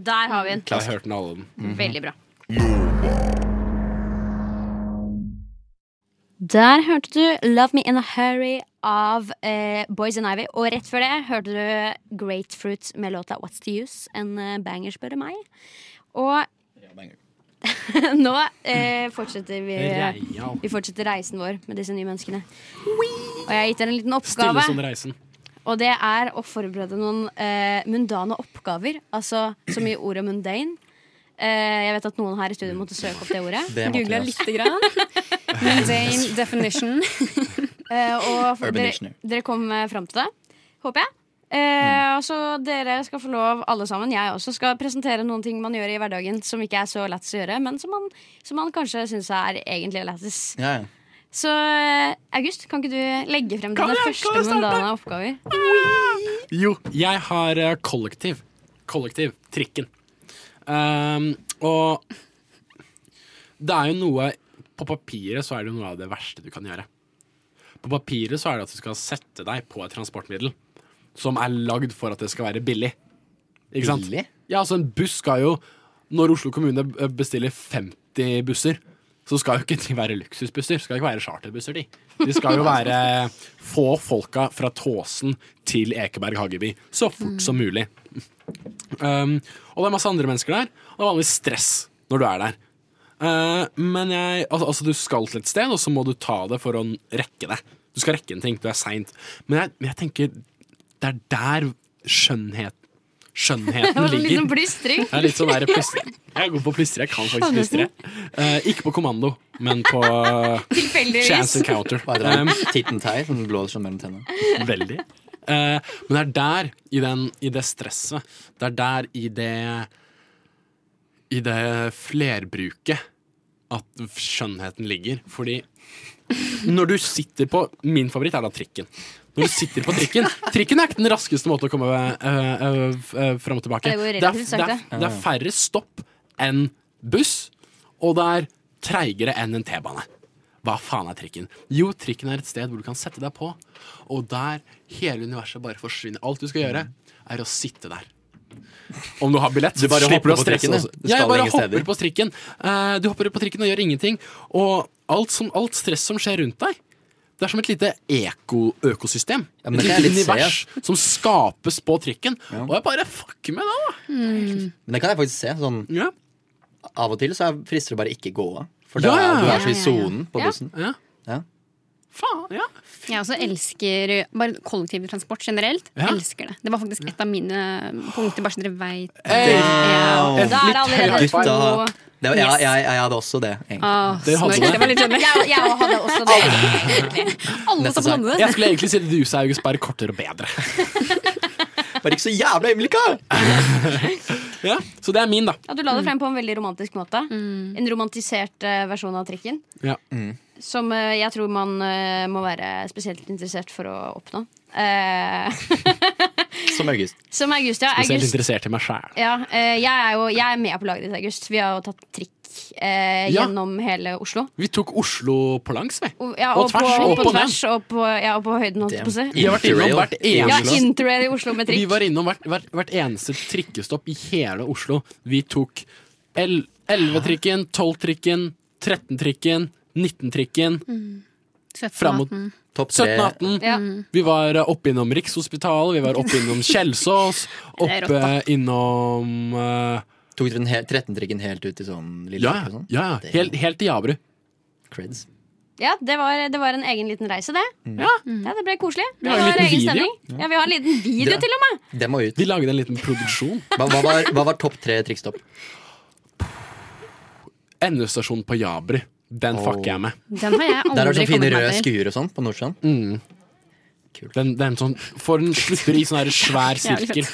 S7: Der har vi den.
S4: Jeg hørte den alle den.
S9: Mhm.
S7: Veldig bra. Der hørte du 'Love Me In A Hurry' av eh, Boys and Ivy. Og rett før det hørte du Grapefruit med låta 'What's The Use'. En eh, banger, spør du meg. Og nå eh, fortsetter vi
S4: Reial.
S7: Vi fortsetter reisen vår med disse nye menneskene. Og jeg har gitt dere en liten
S4: Stille
S7: oppgave.
S4: som reisen.
S7: Og det er å forberede noen eh, mundane oppgaver. Altså som i ordet mundane. Eh, jeg vet at noen her i studio måtte søke opp det ordet.
S9: Det måtte
S8: Googla
S9: jeg, altså.
S8: lite grann. Mundane definition.
S7: Eh, og for,
S9: Urban
S7: dere,
S9: Dictionary.
S7: dere kom eh, fram til det, håper jeg. Eh, og så dere skal få lov, alle sammen, jeg også, skal presentere noen ting man gjør i hverdagen som ikke er så lættis å gjøre, men som man, som man kanskje syns er egentlig lættis.
S9: Ja, ja.
S7: Så eh, August, kan ikke du legge frem dine første mundane oppgaver?
S4: Jo, jeg har eh, kollektiv. Kollektiv. Trikken. Ehm, og det er jo noe På papiret så er det jo noe av det verste du kan gjøre. På papiret så er det at du skal sette deg på et transportmiddel som er lagd for at det skal være billig. Ikke sant?
S9: Billig?
S4: Ja, altså en buss skal jo Når Oslo kommune b- bestiller 50 busser, så skal jo ikke de være luksusbusser. Skal ikke være charterbusser, de. De skal jo være få folka fra Tåsen til Ekeberg hageby så fort som mulig. Um, og det er masse andre mennesker der, og det er vanligvis stress når du er der. Eh, men jeg, altså, altså, du skal til et sted, og så må du ta det for å n- rekke det. Du skal rekke en ting, du er seint. Men jeg, men jeg tenker det er der skjønnhet, skjønnheten ligger.
S7: Liksom plystring.
S4: Jeg er litt sånn der plystre. Jeg er god på å plystre. Jeg kan faktisk plystre. Eh, ikke på kommando, men på chance encounter. Eh,
S9: Hva heter den? Titten Tei, som blå som mellom tennene.
S4: Veldig. Eh, men det er der, i, den, i det stresset, det er der i det I det flerbruket at skjønnheten ligger. Fordi når du sitter på Min favoritt er da trikken. Når du sitter på trikken Trikken er ikke den raskeste måten å komme uh, fram og tilbake.
S7: Det går
S4: er,
S7: relativt
S4: det, er,
S7: sakte.
S4: det er færre stopp enn buss, og det er treigere enn en T-bane. Hva faen er trikken? Jo, trikken er et sted hvor du kan sette deg på, og der hele universet bare forsvinner. Alt du skal gjøre, er å sitte der. Om du har billett,
S9: Du bare
S4: slipper
S9: hopper
S4: du altså. å
S9: på
S4: stresse
S9: trikken, du.
S4: også.
S9: Du
S4: Ja,
S9: skal
S4: jeg bare
S9: ingen steder.
S4: hopper på trikken. Eh, Du hopper på trikken og gjør ingenting. Og alt, som, alt stress som skjer rundt deg, det er som et lite eko, økosystem.
S9: Ja, men
S4: et
S9: det kan
S4: lite
S9: jeg litt se,
S4: univers som skapes på trikken. Og jeg bare fucker med det, da.
S9: Men det kan jeg faktisk se. Sånn,
S4: Ja.
S9: av og til så er- frister det bare ikke gå av. For da
S4: Ja, ja, ja.
S9: du er så i sonen på
S7: Ja.
S9: bussen.
S4: Ja.
S9: Ja.
S4: Faen, ja.
S8: Jeg også elsker bare kollektivtransport generelt.
S4: Ja.
S8: Elsker det. Det var faktisk et av mine punkter, bare så dere veit.
S4: Hey!
S8: Ja,
S4: Et
S8: da er det
S4: litt høyt
S8: allerede
S4: five.
S8: to.
S9: Det var, ja, jeg, jeg hadde også det. egentlig.
S8: Åh,
S4: Det hadde
S8: snørr.
S4: du.
S8: Det var litt skjønner. Jeg, jeg hadde også det. Alle
S9: Neste
S8: som blandet det.
S4: Jeg skulle egentlig si at Luse Augustberg kortere og bedre.
S9: Bare ikke så jævla Emilika!
S4: Ja, så det er min, da.
S7: Ja, du la det frem på en veldig romantisk måte. En romantisert eh, versjon av trikken.
S4: Ja.
S7: Som eh, jeg tror man eh, må være spesielt interessert for å oppnå. Eh,
S9: Som August.
S7: som August, ja.
S4: Spesielt
S7: August,
S4: interessert i meg sjæl.
S7: ja eh, jeg, er jo, jeg er med på laget ditt, August. Vi har jo tatt trikk eh,
S4: Ja.
S7: gjennom hele Oslo.
S4: Vi tok Oslo på langs, vi.
S7: Og, ja,
S4: Og
S7: og,
S4: tvers,
S7: på,
S4: og
S7: og på
S4: på ned.
S7: tvers og på, ja, og på høyden, holdt jeg på å si.
S4: Vi har vært innom hvert
S7: Ja,
S4: eneste
S7: interrail i Oslo med
S4: Vi
S7: trikk.
S4: var innom hvert, hvert, hvert eneste trikkestopp i hele Oslo. Vi tok el- 11-trikken, 12-trikken, 13-trikken, 19-trikken, fram mot
S9: Topp tre.
S4: 17-18.
S7: Ja.
S4: Vi var eh, oppe innom Rikshospitalet, vi var oppe innom Kjelsås,
S8: er rått,
S4: oppe
S8: da.
S4: innom eh,
S9: Tok dere den hel- 13-trikken helt ut til sånn lille
S4: Ja,
S9: Løkke og sånn?
S4: ja,
S9: Det-
S4: helt, helt til Jabru.
S9: Creds.
S7: Ja, det var, det var en egen liten reise, det.
S4: Ja.
S7: Ja, Det ble koselig.
S4: Mm. Vi
S7: Det
S4: har
S7: var
S4: en liten
S7: egen
S4: video.
S7: stemning. Ja, Vi har en liten video,
S9: Det-
S7: til og med.
S9: Det må ut.
S4: Vi lagde en liten produksjon.
S9: Hva, hva, var, hva var topp tre trikkstopp?
S4: Endestasjonen på Jabru. Den fucker jeg med.
S8: Den har jeg aldri
S9: Der er det sånne fine
S8: kommet
S9: røde
S8: meg til.
S9: skuer og sånn på Nordstrand.
S4: Mm. Den, den sånn, for den slutter i sånn her svær sirkel.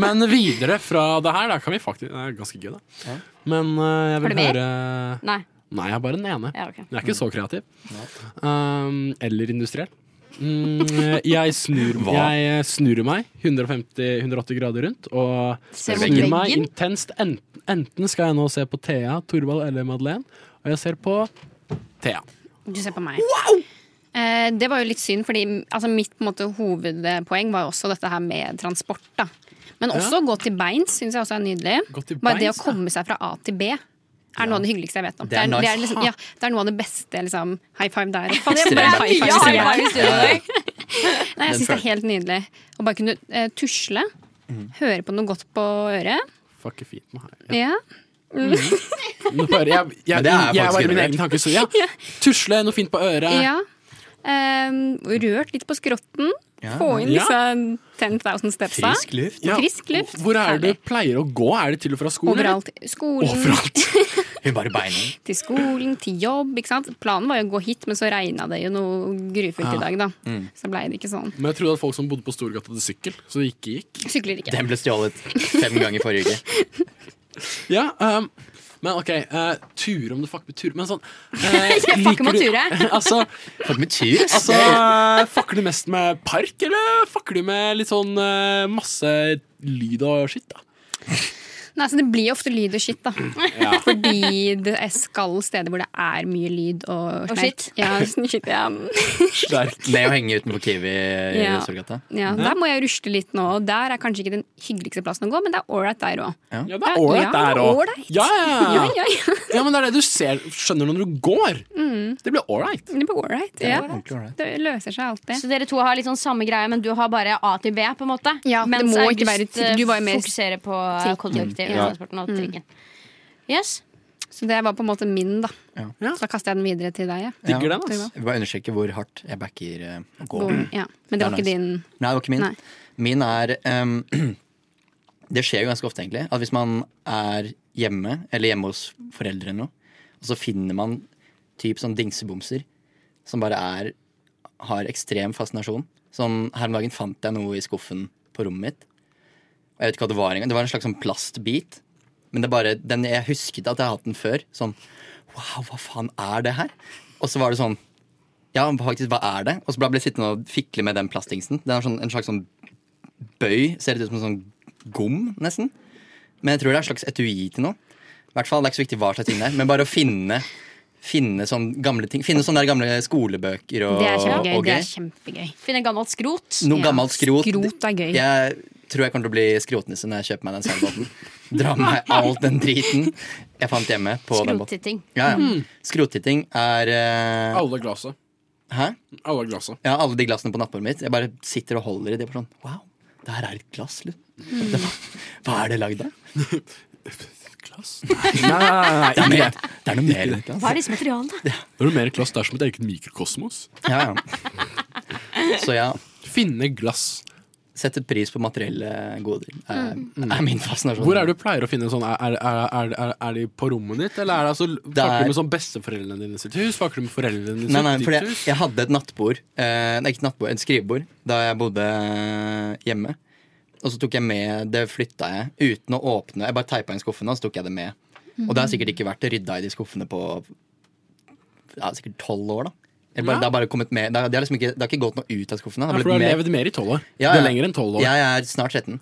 S4: Men videre fra det her, da kan vi faktisk Det er ganske gøy, da. Men eh, jeg
S7: Har
S4: vil
S7: du mer?
S4: høre
S7: Nei.
S4: Nei, jeg har bare den ene.
S7: Ja, ok.
S4: Jeg er ikke så kreativ. Um, eller industriell. Mm, jeg snur Jeg snur meg 150-180 grader rundt og
S7: Ser mot
S4: snur meg
S7: veggen.
S4: intenst. Enten, enten skal jeg nå se på Thea, Torvald eller Madeleine, og jeg ser på Thea.
S8: Du ser på meg. Eh, det var jo litt synd, fordi altså, mitt på en måte, hovedpoeng var jo også dette her med transport. Da. Men også å gå til beins syns jeg også er nydelig.
S4: Gå til
S8: Bare det å
S4: beins, ja.
S8: komme seg fra A til B. Er noe av det hyggeligste jeg vet om.
S9: Det er nice.
S8: liksom, ja, det er noe av det beste. Liksom, high five der. og
S7: Det
S8: faen,
S7: ble
S8: high five
S7: mye
S8: som
S7: high
S8: jeg-
S7: five i studio i dag.
S8: Nei, jeg
S9: Den
S8: syns det er helt nydelig. Å bare kunne eh, tusle. Høre på noe godt på øret.
S4: Fuck, det er fint med her.
S8: Ja.
S4: Nå bare, jeg, jeg, jeg,
S9: Men det er faktisk
S4: var i min
S9: generelt.
S4: egen tanke. Så ja, tusle, noe fint på øret.
S8: ja. Ehm, rørt litt på skrotten.
S9: Ja.
S8: Få inn
S4: Ja.
S8: disse 10,000 stepsa.
S9: luft.
S4: Ja,
S8: Frisk luft.
S4: Hvor er det
S8: Herlig.
S4: du pleier å gå? Er det til og fra skolen? eller?
S8: Overalt. Skolen,
S4: Overalt.
S9: Hun bare beiner.
S8: til skolen, til jobb. Ikke sant? Planen var jo å gå hit, men så regna det jo noe grufullt i dag, da. Så blei det ikke sånn.
S4: Men jeg trodde at folk som bodde på Storgata hadde sykkel, så det ikke gikk.
S8: Sykler ikke.
S9: Den ble stjålet fem ganger forrige uke.
S4: Ja, um, men OK. Uh, ture, om du fucker med ture Men sånn uh,
S7: fucker med
S4: du-
S7: ture.
S4: altså,
S9: Fått med tur. ass.
S4: altså eh, Fucker du mest med park, eller fucker du med litt sånn eh, masse lyd og skitt, da?
S8: Nei, så Det blir ofte lyd og skitt, da. Fordi det er skal steder hvor det er mye lyd og
S7: Og
S8: snerk.
S7: skitt.
S8: Ja, skitt, ja.
S4: Sterk.
S9: Ned og henge utenfor Kiwi i
S8: Ja.
S9: Sørgata.
S8: ja. Der må jeg ruste litt nå, og der er kanskje ikke den hyggeligste plassen å gå, men det er ålreit der òg.
S4: Ja, det er ålreit
S8: Ja, det
S4: der
S8: er
S4: òg.
S8: ålreit.
S4: Ja, ja,
S8: Ja,
S4: ja.
S8: ja, ja.
S4: ja, men det er det du ser, skjønner når du går.
S8: Mm.
S4: Det blir ålreit.
S8: Det blir ålreit. Ja.
S9: Ordentlig ålreit.
S8: Det løser seg alltid.
S7: Så dere to har litt sånn samme greie, men du har bare A til B, på en måte?
S8: Ja, det
S7: Mens
S8: må
S7: August eh,
S8: ikke være trikk. Du var jo mer
S7: fokuserer på
S8: trikken. Mm.
S7: kollektivtransporten og trikken. Yes.
S8: Så det var på en måte min, da.
S4: Ja.
S8: Så da kaster jeg den videre til deg. Ja.
S4: Digger
S9: Ja.
S4: den, altså.
S9: Jeg vil bare understreke hvor hardt jeg backer eh, å gå.
S8: Gå- Ja. Men det var
S9: Det er
S8: ikke din
S9: Nei, det var ikke min.
S8: Nei.
S9: Min er ehm, Det skjer jo ganske ofte, egentlig. At hvis man er hjemme, eller hjemme hos foreldre eller noe, og så finner man typ sånn dingsebomser som bare er har ekstrem fascinasjon. Sånn, Her om dagen fant jeg noe i skuffen på rommet mitt. Og jeg vet ikke hva Det var engang. Det var en slags sånn plastbit. Men det er bare, den, jeg husket at jeg har hatt den før. Sånn Wow, hva faen er det her? Og så var det sånn Ja, faktisk, hva er det? Og så ble jeg sittende og fikle med den plastdingsen. Den har sånn, en slags sånn bøy. Ser litt ut som en sånn gom, nesten. Men jeg tror det er en slags etui til noe. I hvert fall, Det er ikke så viktig hva slags ting det er, men bare å finne Finne sånne gamle ting Finne sånne der gamle skolebøker og
S8: Det er kjempegøy.
S9: og
S8: Det
S9: gøy.
S8: er kjempegøy.
S7: Finne gammelt skrot.
S9: Noe
S8: Ja,
S9: gammelt skrot.
S8: skrot er gøy.
S9: Jeg tror jeg kommer til å bli skrotnisse når jeg kjøper meg den seilbåten. Dra med meg all den driten jeg fant hjemme. på den båten.
S7: Skrottitting.
S9: Ja,
S4: Mm.
S9: ja. Skrottitting er eh,
S4: Alle glasset.
S9: Hæ?
S4: Alle glasset.
S9: Ja, alle de glassene på nattbordet mitt. Jeg bare sitter
S8: Mm.
S9: og holder i det. Bare sånn, wow, det her er et glass. Liksom. Det var- Hva er det lagd av?
S4: Glass? Nei, nei, nei,
S9: Det er
S4: ikke
S9: mer-
S4: det.
S9: det er noe mer
S4: Ikke
S9: enn
S4: det.
S9: glass.
S7: Hva er disse materialene?
S4: Det er noe mer glass. Det er som et eget mikrokosmos.
S9: Ja, ja. Så ja,
S4: Finne glass.
S9: sette pris på materielle goder er, er min fascinasjon.
S4: Mm. Hvor er det du pleier å finne sånn? Er, er, er, er, er de på rommet ditt, eller er det altså,
S9: er-
S4: fakler du med sånn besteforeldrene dine sitt hus? Fakler du med foreldrene dine
S9: Nei, nei,
S4: sitt
S9: for jeg,
S4: hus?
S9: jeg hadde et nattbord eh, Nei, ikke nattbord, et skrivebord Da jeg bodde eh, hjemme Og så tok jeg med, det flytta jeg Uten å åpne, jeg bare teipet inn skuffene Og så tok jeg det med Og det har sikkert ikke vært rydda i de skuffene på ja, Sikkert 12 år da Eller bare,
S4: Ja.
S9: Det har bare kommet med Det har, det har liksom ikke, det har ikke gått noe ut av skuffene
S4: Ja,
S9: Det har
S4: for du har
S9: blitt mer
S4: levd mer i tolv år.
S9: Ja,
S4: Det er
S9: ja.
S4: lenger enn tolv år.
S9: Jeg er snart 13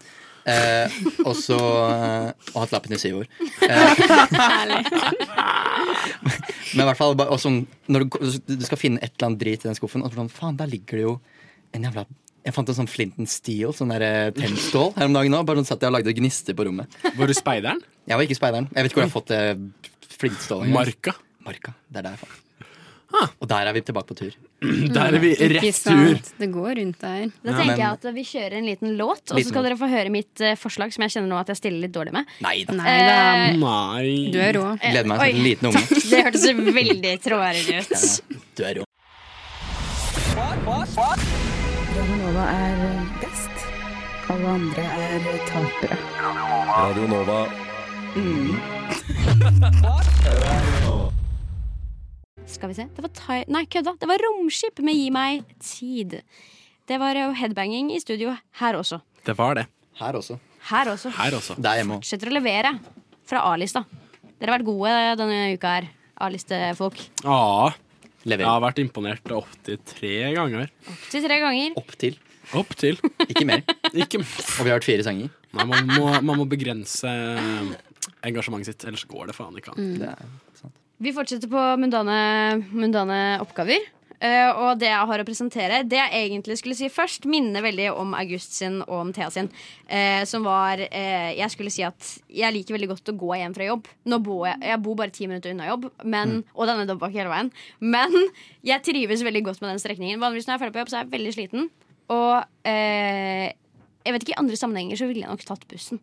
S9: eh, Og så eh, Og hatt lappen i syv år Eh, Men i hvert fall, bare- og sånn, når du, ko- du skal finne et eller annet drit i den skuffen, og så sånn, faen, der ligger det jo en jævla jeg fant en sånn flint and steel, sånn der eh, tennstål, her om dagen òg. Bare sånn satt jeg og lagde gnister på rommet.
S4: Var du speideren?
S9: Jeg var ikke speideren. Jeg vet ikke hvor jeg har fått det flintstålet. engang.
S4: Marka.
S9: Marka. Det er der jeg fant det.
S4: Ah.
S9: Og der er vi tilbake på tur.
S4: Der er vi
S8: Ikke
S4: rett tur.
S8: sant? Det går rundt der.
S7: Da
S9: men-
S7: tenker jeg at vi kjører en liten låt, og så skal dere få høre mitt eh, forslag, som jeg kjenner nå at jeg stiller litt dårlig med.
S9: Nei da.
S8: Nei
S7: Eh,
S8: da. Du
S4: Nei
S8: er rå.
S9: Gleder meg som en liten unge.
S7: det hørtes veldig trådærende ut.
S9: Du er rå.
S3: Radionova er best. Alle andre er tapere.
S5: Radio Nova.
S7: Skal vi se. Det var Thai... Nei, kødda. Det var Romskip med Gi meg tid. Det var jo headbanging i studio her også.
S4: Det var det.
S9: Her også.
S7: Her også.
S4: Her altså. også.
S9: Der hjemme òg.
S7: Fortsetter å levere fra A-lista. Dere har vært gode denne uka her, A-listefolk.
S4: Ja. Ah, Jeg
S9: Leverer.
S4: har vært imponert opptil tre ganger.
S7: Opptil tre ganger.
S9: Opp til.
S4: Opp til.
S9: Ikke mer.
S4: Ikke
S9: Og vi har hørt fire sanger.
S4: Nei, man må, man må begrense engasjementet sitt, ellers går det faen ikke an.
S9: Det er sant.
S7: Vi fortsetter på mundane, mundane oppgaver. Eh, og det jeg har å presentere, det jeg egentlig skulle si først, minner veldig om August sin og om Thea sin. eh, som var eh, Jeg skulle si at jeg liker veldig godt å gå hjem fra jobb. Nå bor jeg, jeg bor bare ti minutter unna jobb, men, og denne dobbeltbakken hele veien. Men jeg trives veldig godt med den strekningen. Vanligvis når jeg er ferdig på jobb, så er jeg veldig sliten. Og eh, jeg vet ikke, i andre sammenhenger så ville jeg nok tatt bussen.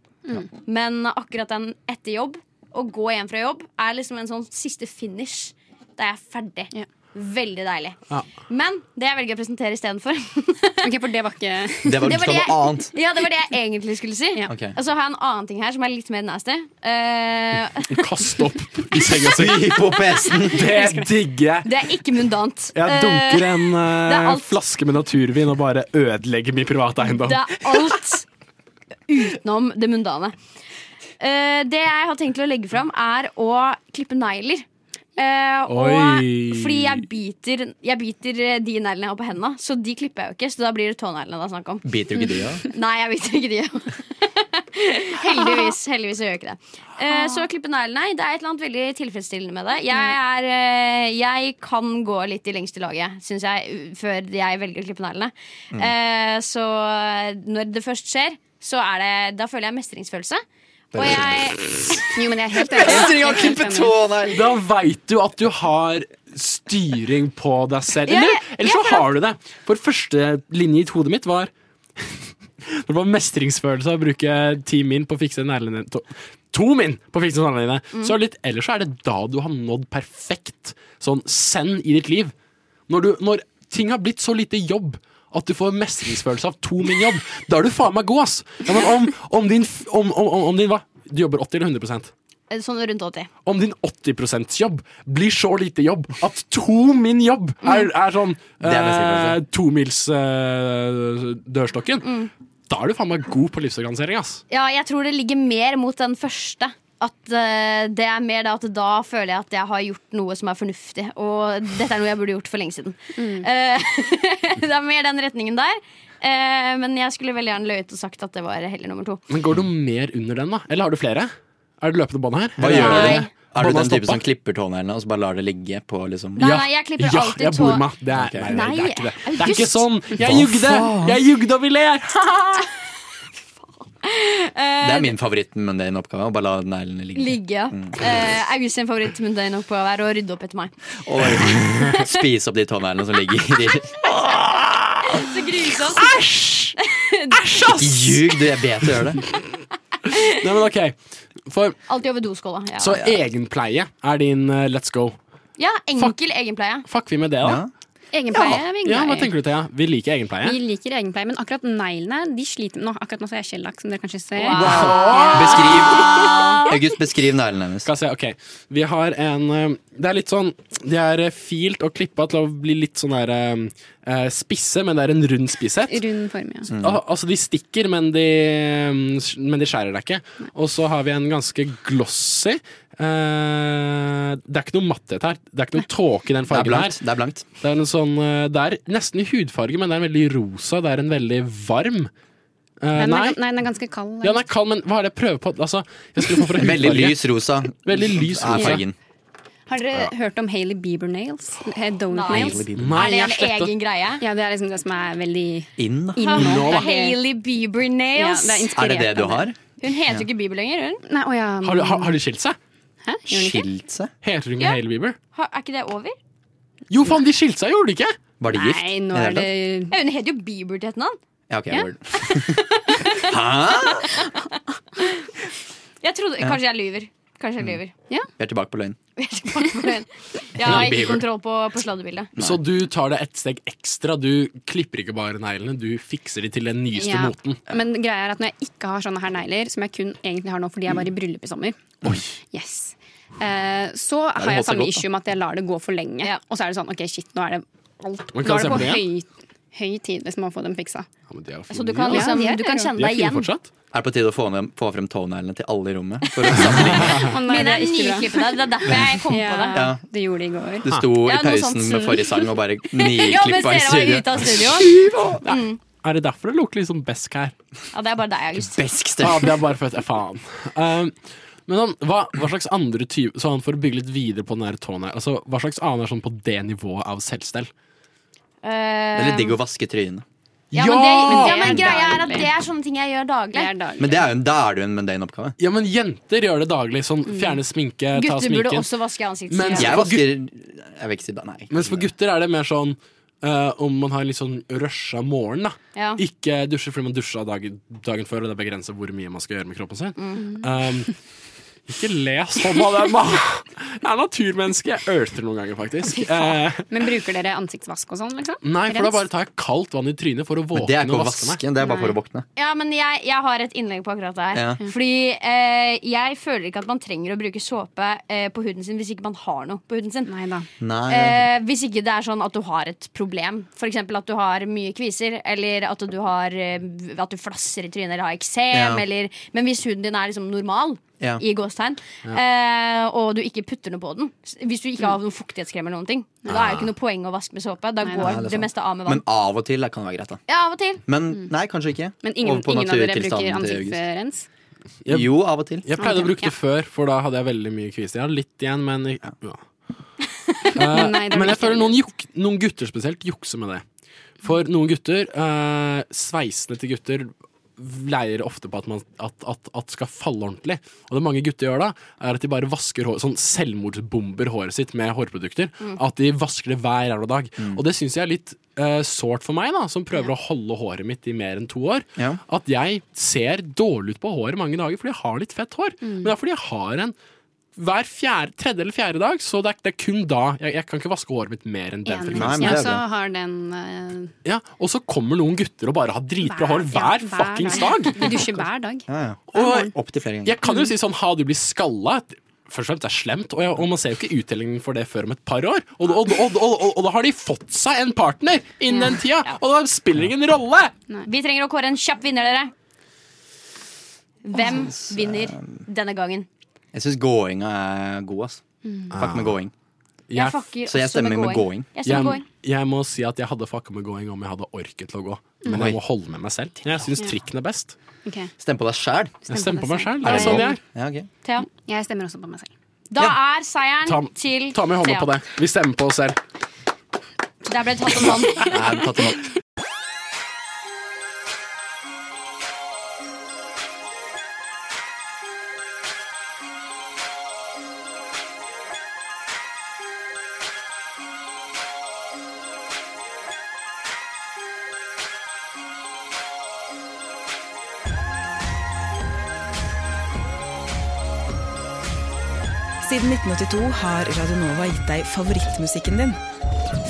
S7: Men akkurat den etter jobb, å gå hjem fra jobb, er liksom en sånn siste finish. Da er jeg ferdig.
S8: Ja.
S7: Veldig deilig.
S4: Ja.
S7: Men det jeg velger å presentere istedenfor,
S8: Ok, For det var ikke
S9: Det var
S7: Det var
S9: liksom
S7: det
S9: noe annet.
S7: ja, det var det jeg egentlig skulle si.
S8: Ja.
S9: Ok.
S7: Og så har jeg en annen ting her som er litt mer nasty. Eh,
S4: Kast opp i senga si.
S9: På PC-en.
S4: Det digger jeg.
S7: det er ikke mundant.
S4: Jeg dunker en
S7: det er
S4: eh,
S7: alt.
S4: flaske med naturvin og bare ødelegger min private eiendom.
S7: Det er alt utenom det mundane. Eh, det jeg har tenkt til å legge fram, er å klippe negler. Eh, og
S4: Oi.
S7: fordi jeg biter, jeg biter eh, de neglene jeg har på hendene, så de klipper jeg jo ikke. Så da blir det tåneglene det er snakk om.
S9: Biter jo ikke du, da?
S7: Nei, jeg biter ikke de. heldigvis heldigvis så gjør jeg ikke det. Eh, så å klippe neglene det er et eller annet veldig tilfredsstillende med det. Jeg, er, eh, jeg kan gå litt i lengste laget, syns jeg, u- før jeg velger å klippe neglene. Eh, så når det først skjer, så er det Da føler jeg mestringsfølelse. Og jeg
S8: Jo, men jeg er helt enig. Jeg er helt enig.
S4: Da veit du at du har styring på deg selv.
S7: Ja,
S4: Eller,
S7: jeg-
S4: eller
S7: jeg
S4: så
S7: føler-
S4: har du det. For første linje i hodet mitt var Det var mestringsfølelse av å bruke ti min på å fikse neglene to, to min på å fikse neglene
S7: Mm.
S4: dine. Så litt, ellers så er det da du har nådd perfekt sånn send i ditt liv. Når, du, når ting har blitt så lite jobb at du får mestringsfølelse av to min jobb, da er du faen meg god, ass! Ja, men om, om din f- om, om, om, om din hva? Du jobber 80 eller 100
S7: Sånn rundt 80.
S4: om din 80 jobb blir så lite jobb at to min jobb er, er sånn
S9: Mm. Det er
S4: eh,
S9: beskrivelsen.
S4: tomils eh, dørstokken,
S9: Mm.
S4: da er du faen meg god på livsorganisering, ass.
S7: Ja, jeg tror det ligger mer mot den første. At eh, det er mer da at da føler jeg at jeg har gjort noe som er fornuftig. Og dette er noe jeg burde gjort for lenge siden.
S8: Mm.
S7: Eh, det er mer den retningen der. Eh, men jeg skulle veldig gjerne løyet og sagt at det var heller nummer to.
S4: Men går du mer under den, da? Eller har du flere? Er det løpende bånd her?
S9: Hva gjør
S7: Nei.
S9: du? Er du
S4: Bånda
S9: den type
S4: stoppa.
S9: som klipper tåneglene og så bare lar det ligge på liksom
S7: Nei, nei, jeg klipper
S4: ja,
S7: alltid
S4: jeg
S7: tå-
S4: bor meg. Det er,
S9: Ok.
S4: nei, det
S7: Nei,
S4: er ikke det. Det er ikke
S7: August.
S4: sånn. Jeg jugde! Jeg jugde og vi ler!
S9: Det er min favoritt med den oppgaven. Å bare la neglene ligge.
S7: Ligge, ja.
S4: Mm.
S7: Eh, August sin favoritt, men det er nok på å være å rydde opp etter meg.
S9: Og spise opp de tåneglene som ligger i
S7: Så grusomt. Ah!
S4: Æsj! Æsj, ass!
S9: Ljug, du. Jeg vet du gjør det.
S4: Nei, men ok. For,
S7: Alltid over doskåla. Ja.
S9: Ah,
S4: så egenpleie er din eh, let's go.
S7: ja, enkel egenpleie.
S4: Fuck vi med det, da?
S8: Egenpleie er vi
S4: Ja,
S8: glad
S4: hva
S8: i.
S4: tenker du, Thea? Vi liker egenpleie.
S8: Vi liker egenpleie, men akkurat neglene de sliter med nå. Akkurat nå så er jeg skjellakk, som dere kanskje ser.
S9: Beskriv August, beskriv neglene hennes.
S4: Skal jeg se, ok. Vi har en eh, Det er litt sånn De er eh, filt og klippa til å bli litt sånn der eh, eh, spisse, men det er en rund spisshet.
S8: Rund form, ja.
S4: Al altså, de stikker, men de, mm, men de skjærer deg ikke. Og så har vi en ganske glossy eh, Det er ikke noe matthet her. Det er ikke noe tåke i den
S9: Det er
S4: fargen her.
S9: blankt. Det er blankt.
S4: Det er, en sånn, eh, det er nesten hudfarge, men det er veldig rosa. Det er en veldig varm Eh,
S8: Den
S4: Nei,
S8: er, nei, den er ganske kald.
S4: ja, den er kald, men hva er det jeg prøver på? Altså, jeg skulle få for
S9: Veldig
S4: hudfarge.
S9: lys rosa
S4: Veldig lys
S9: er
S4: rosa.
S9: fargen.
S8: Har dere hørt om Hailey Bieber nails? Eh, Donut
S7: Nei.
S8: nails?
S4: Nei,
S7: Er det
S4: jeg
S7: en
S4: sletter.
S7: egen greie?
S8: Ja, det er liksom det som er veldig
S9: Inn, da.
S8: inn nå.
S4: Nå, da.
S8: Hailey
S7: Hailey Bieber
S8: ja,
S7: nails.
S8: det er inspirert
S9: Er det det du
S8: av
S9: har?
S7: hun heter jo ikke Bieber lenger, hun.
S8: Nei, å ja.
S4: Har, du- har, har de skilt seg?
S8: Hæ? Gjør den ikke?
S9: Skilt seg?
S4: Heter hun
S7: Ja.
S4: Hailey Bieber?
S7: Har- Er ikke det over?
S4: Jo, faen, de skilte seg, gjorde de ikke?
S9: Var de gift?
S8: Nei,
S9: i
S8: nå
S9: hele
S8: er det
S9: tatt?
S7: Ja, hun heter jo Bieber til etternavn.
S9: ja, ok, word. Hæ?
S7: Jeg trodde, Kanskje jeg lyver. Kanskje jeg
S3: Mm.
S7: lyver.
S9: Vi er tilbake på løgn.
S7: Jeg har ikke
S9: Bieber.
S7: kontroll på, på sladdebildet.
S4: Så du tar det ett steg ekstra. Du klipper ikke bare neglene, du fikser de til den nyeste
S8: ja.
S4: moten.
S8: Men greia er at når jeg ikke har sånne her negler, som jeg kun egentlig har nå fordi jeg var i bryllup i sommer Yes eh, Så har
S9: holdt
S8: jeg
S9: seg
S8: samme
S9: godt, da.
S8: issue med at jeg lar det gå for lenge. Og så er det sånn, ok, shit, nå er det alt
S4: Men
S8: Nå
S4: kan
S8: er det
S4: jeg
S8: på
S4: se på
S8: høy, høy tid liksom, å få dem fiksa.
S4: Ja, men de er jo
S7: Så
S4: fine.
S7: du kan,
S8: Ja,
S7: liksom,
S8: de er
S7: du kan
S8: det.
S7: kjenne
S4: De er
S7: deg
S4: fine
S7: igjen.
S4: fortsatt.
S9: Er det på tide å få, ned, få frem tåneglene til alle i rommet? For å sammenligne.
S8: Å, nei,
S7: Mine
S8: det
S7: er
S8: ikke bra.
S7: nyklippede. Det er derfor jeg kom på det.
S8: Ja, det gjorde de i går.
S9: Det sto
S7: Ja,
S9: i
S7: noe sånt
S9: pausen med
S7: snø.
S9: forrige sang og bare
S7: Ja, mens
S9: niklippa i
S7: dere var ute
S9: studio.
S7: av studio.
S4: Er det derfor det lukter litt sånn besk her?
S7: Ja, det er bare deg, August.
S9: Besk
S4: Ja,
S9: stemme.
S4: det er bare for at ja, faen. Um, men sånn, hva, hva slags andre typer Sånn for å bygge litt videre på den her tåen her. Altså, hva slags annen er sånn på det nivået av selvstell?
S9: Det er litt digg å vaske trynet.
S7: Eh, Ja, men, det,
S4: Ja!
S7: ja, men
S8: Det er
S7: greia er at
S8: daglig.
S7: det er sånne ting jeg gjør
S8: Det
S7: daglig.
S8: er daglig.
S9: Men det er jo, en- da er det jo en mundane oppgave.
S4: Ja, men jenter gjør det daglig. Sånn fjerne sminke, ta
S7: Mm. Gutter burde
S4: sminken.
S7: også vaske ansiktet
S4: Men-
S7: sitt.
S4: Ja.
S9: Jeg vasker Jeg vil ikke si det, nei.
S4: Mens for gutter er det mer sånn eh, om man har en litt sånn rusha morgen, da.
S7: Ja.
S4: Ikke dusje fordi man dusja dagen, dagen før, og det begrenser hvor mye man skal gjøre med kroppen sin. Um, ikke le sånn av dem, da! Jeg er naturmenneske. Jeg ølter noen ganger, faktisk. Eh,
S8: Men bruker dere ansiktsvask og sånn, liksom?
S4: nei, for da
S8: Rens?
S4: bare tar jeg kaldt vann i trynet for å
S9: Men Det
S4: våkne
S9: er ikke
S4: og
S9: å
S4: vaske meg.
S9: vaske, det er bare for å våkne.
S7: Ja, men jeg, jeg har et innlegg på akkurat det her.
S9: Ja.
S7: Fordi eh, jeg føler ikke at man trenger å bruke såpe eh, på huden sin hvis ikke man har noe på huden sin.
S8: Nei da.
S9: Nei.
S7: Eh, hvis ikke det er sånn at du har et problem. F.eks. at du har mye kviser, eller at du, har, eh, at du flasser i trynet eller har
S9: Ja.
S7: eksem. Eller, men hvis huden din er liksom normal,
S9: Ja.
S7: i gåstegn, eh, og du ikke putter noe på den s- Hvis du ikke har noen fuktighetskrem, eller noen ting da er jo ikke noe poeng å vaske med såpe. Da
S8: nei,
S7: går
S9: det er
S7: det,
S9: sant.
S7: meste av med vann. Mm.
S9: Men av og til det kan det være greit, da.
S7: ja, av og til.
S9: Men nei, kanskje ikke.
S8: Men ingen,
S9: Over på
S8: ingen av dere bruker
S9: naturtilstanden til August.
S8: ansiktsrens?
S4: Jeg-
S9: Jo, av og til.
S4: Jeg pleide å
S8: Ok,
S4: bruke
S8: ja.
S4: det før, for da hadde jeg veldig mye kviser. Jeg har litt igjen, men ja. Eh,
S8: Nei, det er
S4: Men jeg
S8: ikke
S4: føler
S8: det.
S4: noen, juk noen gutter spesielt jukser med det. For noen gutter, eh, sveisene til gutter leier ofte på at, man, at, at, at skal falle ordentlig. Og det mange gutter gjør da, er at de bare vasker hår, sånn selvmordsbomber håret sitt med hårprodukter. At de vasker det hver jævla dag. Og det syns jeg er litt eh, sårt for meg, da, som prøver å holde håret mitt i mer enn to år.
S9: Ja.
S4: At jeg ser dårlig ut på håret mange dager fordi jeg har litt fett hår. Men det er fordi jeg har en hver fjerde, tredje eller fjerde dag, så det er, det er kun da. Jeg, jeg kan ikke vaske håret mitt mer enn den.
S8: Enig.
S4: frekvensen.
S9: Nei, men det
S8: Ja,
S9: er
S8: så
S9: bra.
S8: har den eh,
S4: Ja, og så kommer noen gutter og bare har dritbra hår hver
S8: ja,
S4: fuckings
S8: dag.
S4: dag.
S8: Vi dusjer hver dag.
S9: Ja, ja.
S4: Og
S9: Opp til flere ganger.
S4: jeg kan
S7: Mm.
S4: jo si sånn, ha du blir skalla. Først og fremst det er slemt, og, jeg, og man ser jo ikke uttellingen for det før om et par år. Og, og, og, og, og, og da har de fått seg en partner innen den tida, og da spiller det ingen rolle!
S7: Vi trenger å kåre en kjapp vinner, dere. Hvem vinner denne gangen?
S9: Jeg syns gåinga er god, ass. Fuck
S4: Ah.
S9: med gåing.
S7: Jeg
S4: Jeg,
S7: fucker
S9: Så jeg
S7: Mm. også
S9: stemmer med gåing.
S7: Jeg stemmer
S4: jeg,
S7: gåing.
S4: jeg må si at jeg hadde fucka med going om jeg hadde orket til å gå. Men
S9: Oi.
S4: jeg må holde med meg selv. Jeg syns trikken er best.
S8: Ok,
S9: Stem på deg sjæl.
S4: Jeg stemmer på meg sjøl.
S9: Er
S4: Det
S9: det
S4: er sånn
S9: sånn?
S4: jeg er.
S9: Ja, ok.
S7: Thea.
S8: Jeg stemmer også på meg selv.
S7: Da er seieren
S4: Ta-
S7: til
S4: Ta med hånda
S7: Thea.
S4: på det. Vi stemmer på oss selv.
S7: Der ble det tatt om hånd.
S9: Nei, jeg har tatt den opp.
S11: Siden 1982 har Radionova gitt deg favorittmusikken din.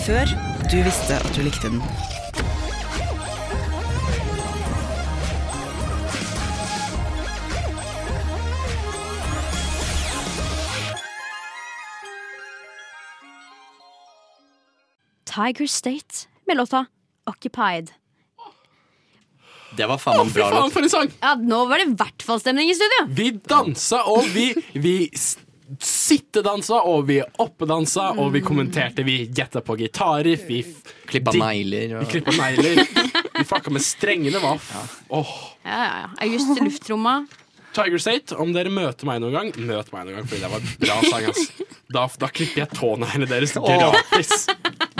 S11: Før du visste at du likte den.
S7: Tiger State med låta Occupied.
S9: Det var faen meg en bra låt.
S7: for en sang! Ja, Nå var det i hvert fall stemning i studio.
S4: Vi dansa, og vi, vi s- sittedansa, og vi oppedansa, og vi kommenterte. Vi gjetta på gitarer. Vi
S9: Klippa
S4: Vi
S9: negler. og-
S4: klippa negler. Vi fucka med strengene. Hva? f- Åh.
S7: Ja, ja, ja. August i luftromma.
S4: Tiger State, om dere møter meg noen gang, møt meg noen gang, fordi det var en bra sang. Ass. Da, da klipper jeg tåneglene deres gratis.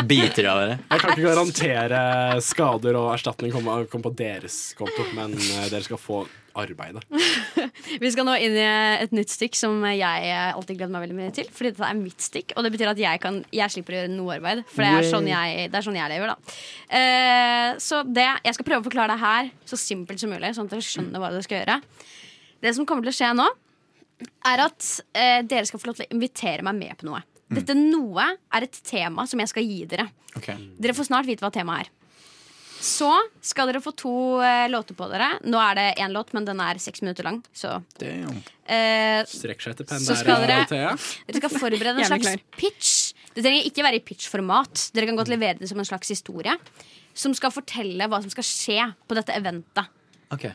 S9: Biter av dere.
S4: Jeg kan ikke garantere skader og erstatning kommer kommer på deres konto, men eh, dere skal få arbeidet.
S7: Vi skal nå inn i et nytt stikk som jeg alltid gleder meg veldig mye til. Fordi dette er mitt stikk, og det betyr at jeg, kan, jeg slipper å gjøre noe arbeid. For det er
S12: Wow.
S7: sånn jeg, det er sånn jeg lever, da. Eh, så det, jeg skal prøve å forklare det her så simpelt som mulig, sånn at dere skjønner hva dere skal gjøre. Det som kommer til å skje nå, er at eh, dere skal få lov til å invitere meg med på noe.
S12: Mm.
S7: Dette noe er et tema som jeg skal gi dere.
S9: Mm,
S7: Dere får snart vite hva temaet er. Så skal dere få to eh, låter på dere. Nå er det én låt, men den er seks minutter lang. Så, eh,
S4: Strekker seg etter
S7: så skal
S4: Pandera
S7: dere,
S4: og Thea.
S7: dere skal forberede en
S4: Jævlig
S7: slags pitch. Det trenger ikke være i pitch-format. Dere kan godt levere det som en slags historie som skal fortelle hva som skal skje på dette eventet.
S9: Ok.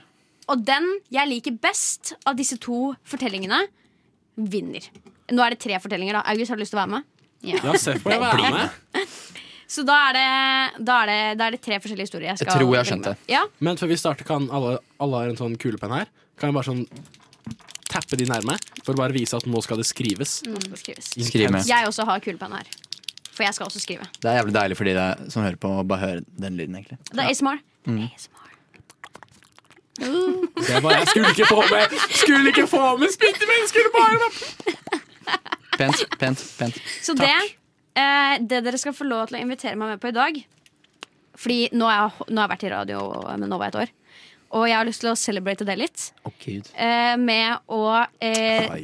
S7: Og den jeg liker best av disse to fortellingene, vinner. Nå er det tre fortellinger, da. August, har du lyst til å være med?
S4: Ja, se på meg å være med.
S7: Så da er, det, da, er det, da er det tre forskjellige historier. Jeg,
S4: Jeg
S7: skal
S4: tror jeg har
S7: fortelle
S4: skjønt det.
S7: med. Ja,
S4: Men før vi starter, kan alle, alle har en sånn kulepenn her. Kan jeg bare sånn tappe de nærme, for å bare vise at nå skal det skrives.
S7: nå skal det skrives.
S9: Skriv med.
S7: Jeg også har kulepenn her. For jeg skal også skrive.
S9: Det er jævlig deilig for de der som hører på, å bare høre den lyden, egentlig.
S7: Det er ASMR.
S9: Mm.
S7: Uh.
S4: Det var jeg skulle ikke få med! Skulle ikke få med spinte mennesker! Bare med.
S9: Pent, pent, pent.
S7: Så det, eh, det dere skal få lov til å invitere meg med på i dag Fordi nå har jeg, nå har jeg vært i radio eh, med Nova et år, og jeg har lyst til å celebrate det litt.
S9: Gud.
S7: eh, med å eh,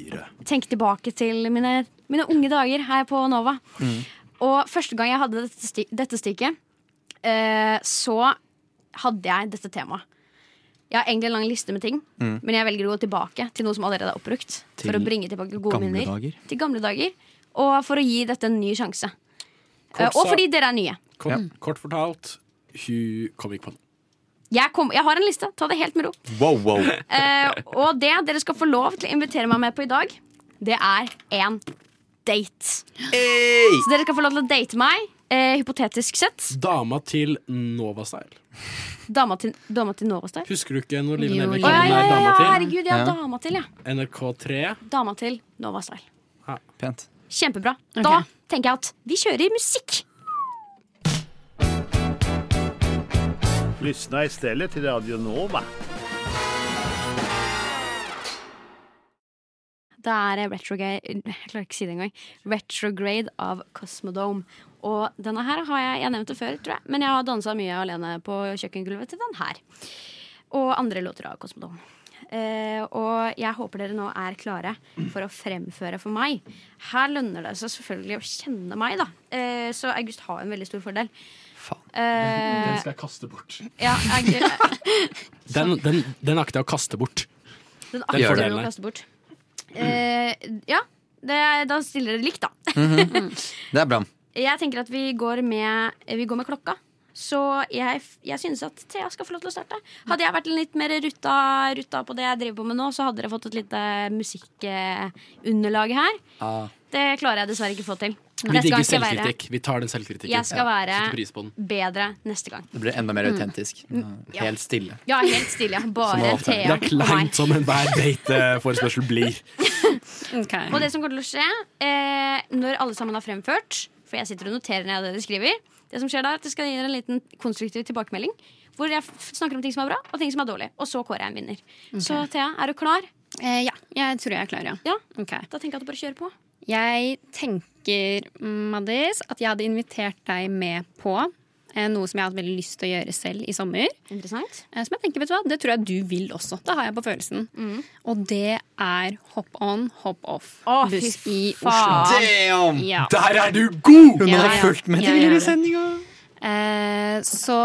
S7: tenke tilbake til mine, mine unge dager her på Nova. Og første gang jeg hadde dette, sti dette stikket, eh, så hadde jeg dette temaet. Jeg har egentlig en lang liste med ting,
S12: Mm.
S7: men jeg velger å gå tilbake til noe som allerede er oppbrukt.
S12: Til
S7: for å bringe tilbake gode
S12: gamle
S7: minner
S12: dager.
S7: til gamle dager. Og for å gi dette en ny sjanse.
S4: Kort
S7: Eh, og
S4: sa-
S7: fordi dere er nye.
S4: Kort, kort fortalt, hun kom ikke på den.
S7: Jeg, kom, jeg har en liste. Ta det helt med ro.
S9: Wow, wow.
S7: Eh, og det dere skal få lov til å invitere meg med på i dag, det er en date. Så dere skal få lov til å date meg, eh, hypotetisk sett.
S4: Dama til Novastyle.
S7: Dama til, dama til Novastyle.
S4: Husker du ikke når Liv
S7: Jo,
S4: Nelvik
S7: jo.
S4: var
S7: Ja, ja, ja,
S4: dama til?
S7: ja, herregud, ja, dama til, ja.
S4: NRK3.
S7: Dama til Novastyle.
S9: Pent.
S7: Kjempebra. Da tenker jeg at vi kjører musikk.
S13: Lyssna istället till Radio Nova.
S7: Det er retrograde Jeg klarer ikke å si det engang. Retrograde av Cosmodome. Og denne her har jeg, jeg nevnt det før, tror jeg. Men jeg har dansa mye alene på kjøkkengulvet til den her. Og andre låter av Cosmodome. Eh, og jeg håper dere nå er klare for å fremføre for meg. Her lønner det seg selvfølgelig å kjenne meg, da. Eh, så August har en veldig stor fordel. Eh,
S4: Den skal jeg kaste bort.
S7: ja, August,
S4: Den, den, den akter jeg å kaste bort.
S7: Den
S4: Den
S7: akter du
S4: fordelen
S7: å
S4: der.
S7: kaste bort. Eh, ja, det, da stiller dere likt, da.
S9: Det er bra.
S7: Jeg tenker at vi går med, eh, vi går med klokka. Så jeg, jeg synes at Thea skal få lov til å starte. Hadde jeg vært litt mer rutta, rutta på det jeg driver på med nå, så hadde dere fått et lite musikkunderlag her. Det klarer jeg dessverre ikke få til.
S4: Vi
S7: Neste
S4: digger
S7: gang skal jeg være-
S4: selvkritikk. Vi tar den selvkritikken.
S7: Jeg skal
S4: Setter pris på
S7: være
S4: den.
S7: bedre neste gang.
S9: Det blir enda mer
S7: Mm.
S9: autentisk.
S7: Ja.
S9: Helt stille.
S7: Ja, helt stille. ja.
S9: Som
S7: Bare
S9: alt er.
S7: Thea og meg.
S4: som enhver dateforespørsel blir.
S7: Og det som kommer til å skje eh, når alle sammen har fremført For jeg sitter og noterer ned det dere skriver. Det som skjer da er at jeg skal gi dere en liten konstruktiv tilbakemelding. Hvor jeg f- snakker om ting som er bra, og ting som er dårlig. Og så kårer jeg en vinner. Så Thea, er du klar?
S8: Eh, ja, jeg tror jeg er klar, ja.
S7: Da tenker jeg at du bare kjører på.
S8: Jeg tenker, Maddis, at jeg hadde invitert deg med på Eh, Noe som jeg har hatt veldig lyst til å gjøre selv i sommer.
S7: Interessant.
S8: Eh, Som jeg tenker, vet du hva, Det tror jeg du vil også. Det har jeg på følelsen. Og det er hop on, hop off.
S7: Å,
S8: buss
S7: fy
S8: i
S7: faen.
S8: Oslo.
S7: Damn!
S8: Ja.
S7: Der er du
S1: god!
S7: Hun hadde fulgt med tidligere i
S1: sendinga.
S8: Eh, så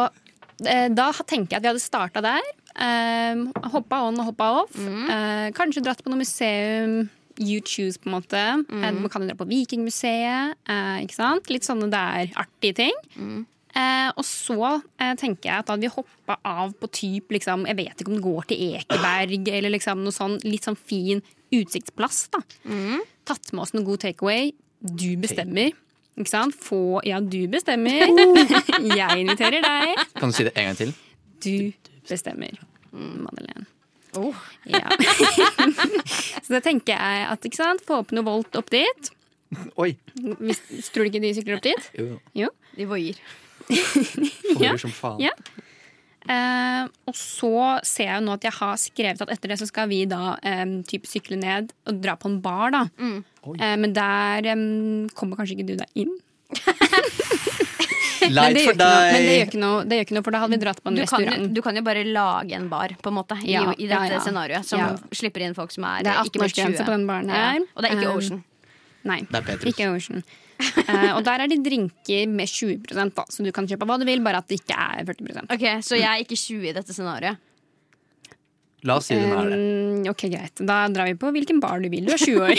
S8: eh, da tenker jeg at vi hadde starta der. Eh, hoppa on og hoppa off. Eh, kanskje dratt på noe museum. You choose, på en måte. Eh, man kan jo dra på Vikingmuseet. Eh, ikke sant? Litt sånne der artige ting. Eh, og så eh, tenker jeg at da hadde vi hoppa av på typ liksom, Jeg vet ikke om det går til Ekeberg, eller liksom noe sånn litt sånn fin utsiktsplass. da Tatt med oss noe god takeaway. Du bestemmer. Ikke sant? Få Ja, du bestemmer.
S7: Oh.
S8: jeg inviterer deg.
S9: Kan du si det en gang til?
S8: Du bestemmer, mm, Madeleine.
S7: Oh.
S8: Ja. så da tenker jeg at ikke sant, få opp noe Volt opp dit.
S9: Oi.
S8: Hvis, tror du ikke de sykler opp dit?
S9: Jo,
S8: Jo.
S7: De voier.
S9: Forhører som faen.
S8: Ja. Eh, og så ser jeg jo nå at jeg har skrevet at etter det så skal vi da um, typ sykle ned og dra på en bar, da.
S7: Mm.
S8: Eh, men der em, kommer kanskje ikke du deg inn. Men
S9: Light
S8: det gjør
S9: for
S8: ikke noe- Men det gjør,
S9: deg.
S8: ikke noe, det gjør ikke noe, for da hadde vi dratt på en
S7: Du kan, jo,
S8: restaurant.
S7: du kan jo bare lage en bar på en måte i,
S8: Ja,
S7: i dette
S8: ja, ja.
S7: scenarioet, som
S8: Ja.
S7: slipper inn folk som er,
S8: Det er
S7: ikke blir 20.
S8: 18-årsgrense på den baren
S7: Ja,
S8: her.
S7: Og det er ikke
S8: Um,
S7: Ocean.
S8: Nei,
S9: Det er Petrus.
S8: ikke Ocean. Eh, og der er det drinker med 20 da, så du kan kjøpe hva du vil, bare at det ikke er 40
S7: Ok, Så jeg er ikke 20 i dette scenarioet.
S9: La oss si hun Sånn er det.
S8: Eh, ok, greit. Da drar vi på hvilken bar du vil. Du er 20 år.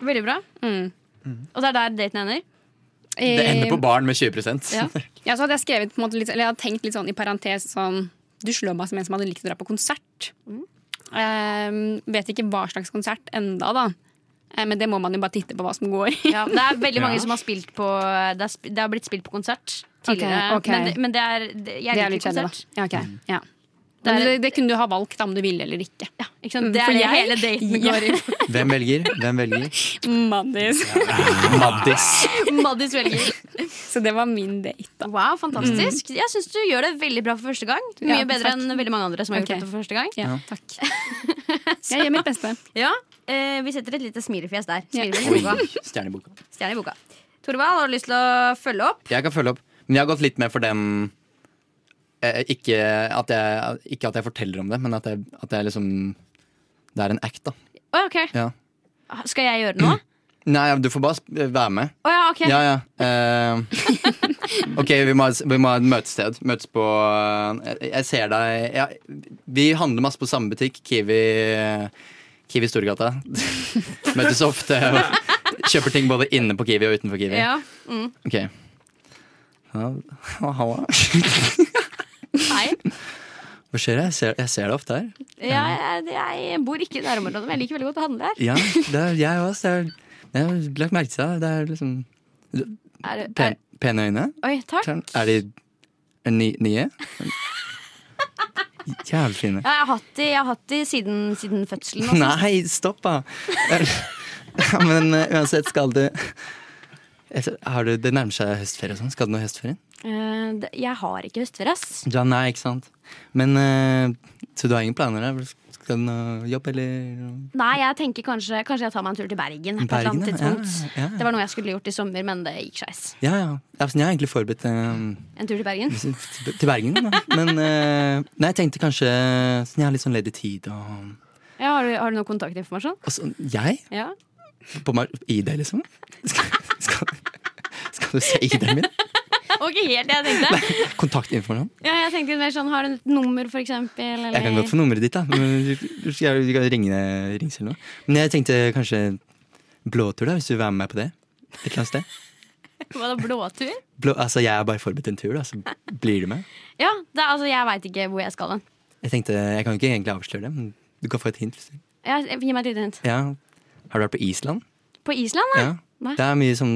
S7: Veldig bra.
S8: Mm.
S7: Og det er der daten ender.
S9: Det ender på
S8: Eh,
S9: baren med 20
S7: Ja.
S8: Ja, så hadde jeg skrevet på en måte litt, eller jeg hadde tenkt litt sånn i parentes sånn Du slår meg som en som hadde likt å dra på konsert.
S7: Mm.
S8: Eh, vet ikke hva slags konsert enda da. Eh, men det må man jo bare titte på hva som går.
S7: Ja, det er veldig mange
S8: Ja.
S7: som har spilt på Det, er, sp- det har blitt spilt på konsert tidligere.
S8: Ok, ok.
S7: Men, det, men det er det, Jeg
S8: det er
S7: liker
S8: litt kjedelig,
S7: konsert.
S8: da. Ja, ok.
S9: Mm.
S8: ja.
S7: Det
S8: Men
S7: er-
S8: det, det kunne du ha valgt da, om du ville eller ikke.
S7: Ikke
S8: Mm,
S7: sant? Det er det hele daten går i.
S9: Hvem velger? Hvem velger?
S8: Maddis.
S9: Maddis.
S7: Maddis velger. Mm.
S8: Så det var min date. da.
S7: Wow, fantastisk. Jeg syns du gjør det veldig bra for første gang. Mye
S8: Ja,
S7: bedre
S8: takk.
S7: enn veldig mange andre som har gjort
S8: Ok.
S7: dette for første gang.
S8: Ja, takk. Jeg gjør mitt beste.
S7: Ja, eh, Vi setter et lite smilefjes der. Smilefjes i
S9: Oi,
S7: boka.
S9: stjerneboka.
S7: Stjerne i boka. Torvald, har du lyst til å følge opp?
S9: Jeg kan følge opp. Men jeg har gått litt med for den eh, ikke, at jeg, ikke at jeg forteller om det, men at jeg, at jeg liksom Det er en act, da.
S7: Å, ok. Ah,
S9: Ja.
S7: Skal jeg gjøre noe?
S9: Nei, du får bare sp- være med.
S7: Å ja, ok.
S9: Ja, ja. Eh, ok, vi må, ha et- vi må ha et møtested. Møtes på eh, Jeg, jeg ser deg ja, Vi handler masse på samme butikk, Kiwi, Kiwi Storgata. Møtes ofte og kjøper ting både inne på Kiwi og utenfor Kiwi.
S7: Ja, Mm.
S9: Ok. Ja, Halla.
S7: Hei.
S9: Hva skjer? Jeg ser, jeg ser det ofte her.
S7: Ja, jeg, jeg bor ikke i nærområdet, men jeg liker veldig godt å handle her.
S9: Ja, det er jeg også. Jeg, har- jeg har lagt merke til det. Det er liksom
S7: Er, det-
S9: pen,
S7: er,
S9: pene øyne.
S7: oi, takk.
S9: Er de ny, nye? Jævlig fine.
S7: Ja, jeg har hatt de, jeg har hatt de siden, siden fødselen. altså.
S9: Nei, stopp, da! Ja, Men eh, uansett, skal du Jeg- har du, Det nærmer seg høstferie og sånn. Skal du noe i høstferien?
S7: Eh, det- jeg har ikke høstferie, ass.
S9: Ja, nei, ikke sant. Men eh, Så du har ingen planer? Da? Skal du noe jobb, eller noe?
S7: Nei, jeg tenker kanskje, kanskje jeg tar meg en tur til Bergen. på et eller annet
S9: Bergen, ja.
S7: tidspunkt.
S9: Ja, ja.
S7: Det var noe jeg skulle gjort i sommer, men det gikk skeis.
S9: Ja, ja. Ja, sånn, Jeg har egentlig forberedt eh,
S7: En tur til Bergen?
S9: til til Bergen, da. Men eh, nei, jeg tenkte kanskje sånn, Jeg har litt sånn ledig tid og
S7: Ja, har, du, har du noe kontaktinformasjon?
S9: og så, Jeg?
S7: Ja.
S9: På meg, ID, liksom? Skal, skal, skal du se ID-en min?
S7: Og ikke helt det jeg tenkte.
S9: Kontaktinformasjon?
S7: Ja, jeg tenkte mer sånn, Har du et nummer, for eksempel? Eller?
S9: Jeg kan godt få nummeret ditt, da. Men du, du skal du kan ringe rings eller noe. Men jeg tenkte kanskje blåtur, da, hvis du vil være med meg på det. Et eller annet sted.
S7: Var det blåtur?
S9: Blå, altså, jeg er bare forberedt en tur, da, så blir du med.
S7: Ja, det, er- altså, jeg veit ikke hvor jeg skal hen.
S9: Jeg tenkte, jeg kan jo ikke egentlig avsløre det, men du kan få et hint. Hvis du.
S7: Ja, gi meg et lite hint.
S9: Ja. Har du vært på Island?
S7: På Island, da?
S9: Ja.
S7: Nei.
S9: Det er mye sånn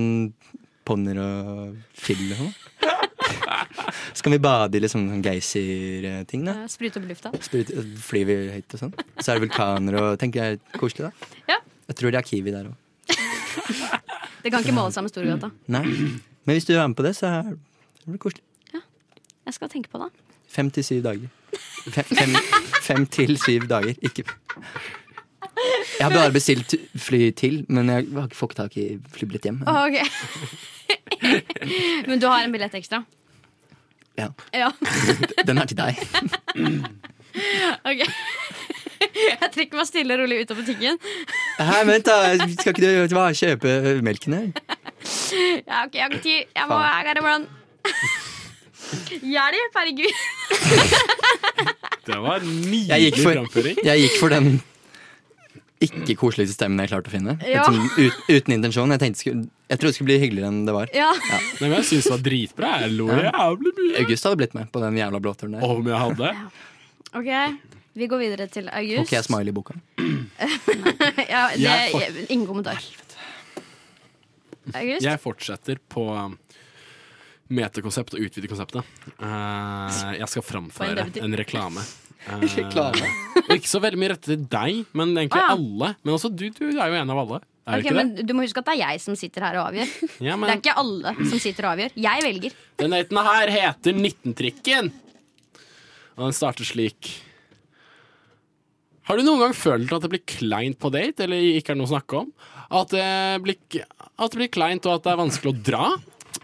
S9: ponner og film og sånn. Så kan vi bade i litt sånn sånn geysir-ting, da.
S7: Ja, Sprute opp lufta.
S9: Sprut, flyr vi høyt og sånn. Så er det vulkaner og Tenker jeg er koselig, da.
S7: Ja.
S9: Jeg tror det er Kiwi der òg.
S7: Det kan ikke måle seg med Storgata.
S9: Nei. Men hvis du er med på det, så er det blir koselig.
S7: Jeg skal tenke på det.
S9: Fem til syv dager. Fem, fem, fem til syv dager. Ikke Jeg har bare bestilt fly til, men jeg har ikke fått tak i flybillett hjem.
S7: Å, ok. Men du har en billett ekstra?
S9: Ja.
S7: Ja.
S9: Den er til deg.
S7: Ok. Jeg trekker meg stille og rolig ut av butikken.
S9: Hei, vent, da. Skal ikke du hva, kjøpe melken her?
S7: Ja, ok, jeg har ikke tid. Jeg må I
S9: Faen.
S7: gotta run. Hjelp, herregud.
S4: Det var en
S9: Jeg gikk
S4: nydelig
S9: for,
S4: framføring.
S9: jeg gikk for den ikke koseligste stemmen jeg klarte å finne.
S7: Ja.
S9: Uten, ut, uten intensjon. Jeg, tenkte skulle, jeg trodde det skulle bli hyggeligere enn det var.
S7: Ja.
S4: Nei, men jeg syns det var dritbra. Jeg lo jævlig mye.
S9: August hadde blitt med på den jævla blåturen der.
S4: Om jeg hadde?
S7: Ok, vi går videre til August.
S9: Ok, smiley-boka.
S7: ja, det,
S4: Jeg får-
S7: jeg- ingen kommentar. August?
S4: Jeg fortsetter på um, metakonsept og utvide konseptet. Eh, jeg skal
S7: Hva
S4: framføre
S7: enn det betyr.
S4: en reklame. Eh,
S7: Reklame?
S4: og ikke så veldig mye rettet til deg, men egentlig
S7: Ah, ja.
S4: alle. Men også du, du er jo en av alle. Er
S7: Ok,
S4: du ikke
S7: men Du må huske at det er jeg som sitter her og avgjør.
S4: det? Ja,
S7: Det er
S4: men
S7: ikke alle som sitter og avgjør. Jeg velger.
S4: den daten her heter 19-trikken. Og den starter slik. Har du noen gang følt at det blir kleint på date, eller ikke er noe å snakke om? At det blir, at det blir kleint, og at det er vanskelig å dra?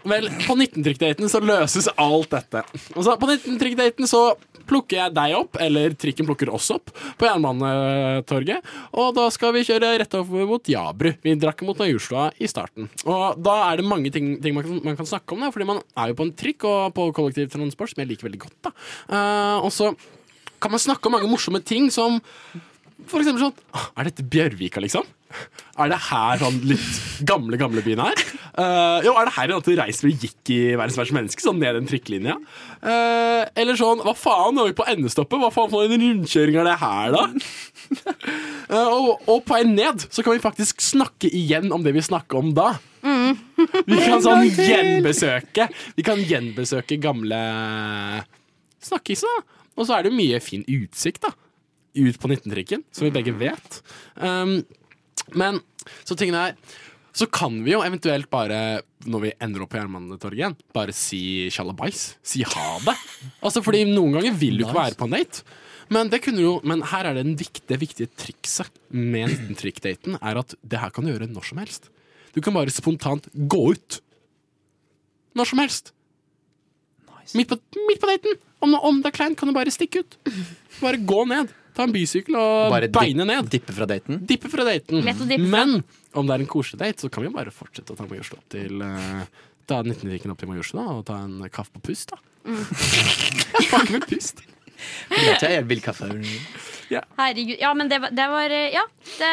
S4: Vel, på 19-trikkdaten så løses alt dette. Og så på 19-trikkdaten så plukker jeg deg opp, eller trikken plukker oss opp, på Jernbanetorget. Og da skal vi kjøre rett over mot Jabru. Vi drakk mot Najusla i starten. Og da er det mange ting, ting man, kan, man kan snakke om, da, fordi man er jo på en trikk og på kollektivtransport, som jeg liker veldig godt. da. Eh, og så kan man snakke om mange morsomme ting som for eksempel sånn «Ah, Er dette Bjørvika, liksom? Er det her sånn litt gamle, gamle byen her? Eh, jo, er det her i natt du reiser hvor du gikk i Verdens verste menneske? Sånn ned den trikkelinja? Eh, eller sånn Hva faen, nå er vi på endestoppet? Hva faen for en rundkjøring er det her, da? Eh, og, og på vei ned så kan vi faktisk snakke igjen om det vi snakka om da. Vi kan sånn gjenbesøke Vi kan gjenbesøke gamle snakkis, da. Og så er det jo mye fin utsikt, da. Ut på 19-trikken, som vi begge vet. Um, men så tingene er Så kan vi jo eventuelt bare, når vi ender opp på Jernbanetorget igjen, bare si tjalabais. Si ha det. Altså fordi noen ganger vil du ikke være på en date. Men, det kunne du jo, men her er det en viktig, det viktige trikset med 19-trikkdaten, er at det her kan du gjøre når som helst. Du kan bare spontant gå ut. Når som helst. Midt, på, midt på daten. Om, om det er kleint, kan du bare stikke ut. Bare gå ned. Ta en bysykkel og
S9: Bare dip-
S4: beine ned.
S9: Dippe fra daten.
S4: Dippe fra daten.
S9: Lett å dippe fra.
S4: Men om det er en koselig date, så kan vi jo bare fortsette å ta Majorstua opp til eh, Ta 19-drikken opp til Majorstua og ta en kaffe på pust, da.
S7: Mm.
S4: Fuck med pust.
S9: Vet jeg, jeg vil kaffe.
S7: Herregud. Ja, men det var, det var eh, Ja. Det,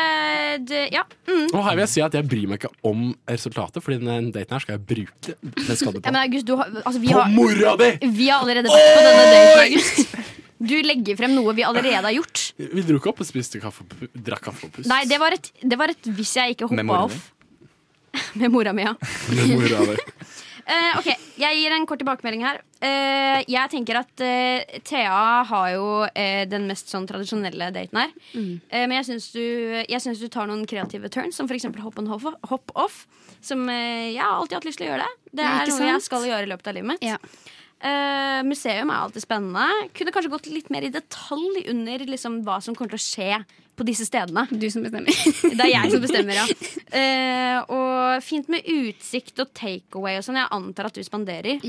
S7: det, ja. Mm.
S4: Og her vil jeg si at jeg bryr meg ikke om resultatet, Fordi den daten her skal jeg bruke. Den skal du
S7: Ja, men August, du har, altså, vi
S4: På
S7: har
S4: mora di!
S7: Vi har allerede vært på denne daten, August. Du legger frem noe vi allerede har gjort.
S4: Vi dro ikke opp og spiste kaffe og pu- drakk kaffe og pust.
S7: Nei, det var et, det var et hvis jeg ikke hoppa off. Med mora mi, ja.
S4: Med mora di.
S7: Eh, ok, Jeg gir en kort tilbakemelding her. Eh, jeg tenker at eh, Thea har jo eh, den mest sånn tradisjonelle daten her.
S8: Mm.
S7: Eh, men jeg syns du, jeg syns du tar noen kreative turns, som f.eks. hop on hop, hop off. Som eh, jeg har alltid hatt lyst til å gjøre. Det Det
S8: Ja,
S7: er
S8: ikke
S7: noe
S8: sant?
S7: jeg skal gjøre i løpet av livet mitt. Eh, museum er alltid spennende. Kunne kanskje gått litt mer i detalj under liksom, hva som kommer til å skje på disse stedene.
S8: Du som bestemmer.
S7: Det er jeg som bestemmer, ja. Eh, og fint med utsikt og takeaway og sånn. Jeg antar at du spanderer.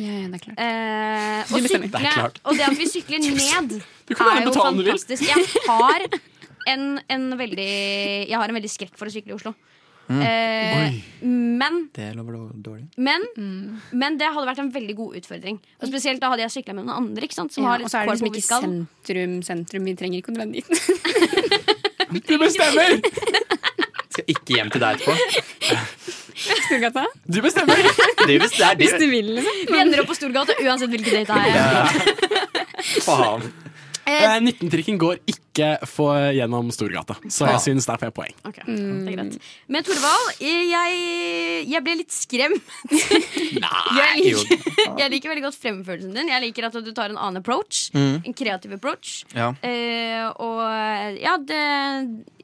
S7: Eh,
S8: Du
S7: og,
S8: bestemmer.
S7: sykle,
S8: Det er klart.
S7: og det at vi sykler ned,
S8: Du kan bare
S7: er jo
S8: betale om du vil.
S7: fantastisk. Jeg har en, en veldig Jeg har en veldig skrekk for å sykle i Oslo.
S9: Mm.
S7: Eh,
S9: Oi.
S7: men
S9: Det lover dårlig.
S7: men,
S8: Mm.
S7: men det hadde vært en veldig god utfordring. Og Spesielt da hadde jeg sykla med noen andre. ikke sant? Som
S8: Ja,
S7: har litt
S8: og så er det
S7: kår på
S8: liksom
S7: hvor
S8: ikke
S7: vi skal.
S8: sentrum, sentrum. Vi trenger ikke å dra dit.
S4: Du bestemmer!
S9: Skal ikke hjem til deg etterpå.
S8: Storgata?
S4: Du bestemmer!
S9: Det er visst- det er det.
S8: Hvis du vil, liksom.
S7: Vi ender opp på Storgata uansett hvilken date det er.
S4: Faen. Eh, 19-trikken går ikke for gjennom Storgata, så jeg
S7: Ah.
S4: syns der får jeg poeng.
S8: Mm.
S7: Ok, det er greit. Men Torvald, jeg, jeg ble litt skremt. jeg, liker, jeg liker veldig godt fremførelsen din. Jeg liker at du tar en annen approach.
S9: Mm.
S7: En kreativ approach.
S9: Ja.
S7: Eh, og ja, det,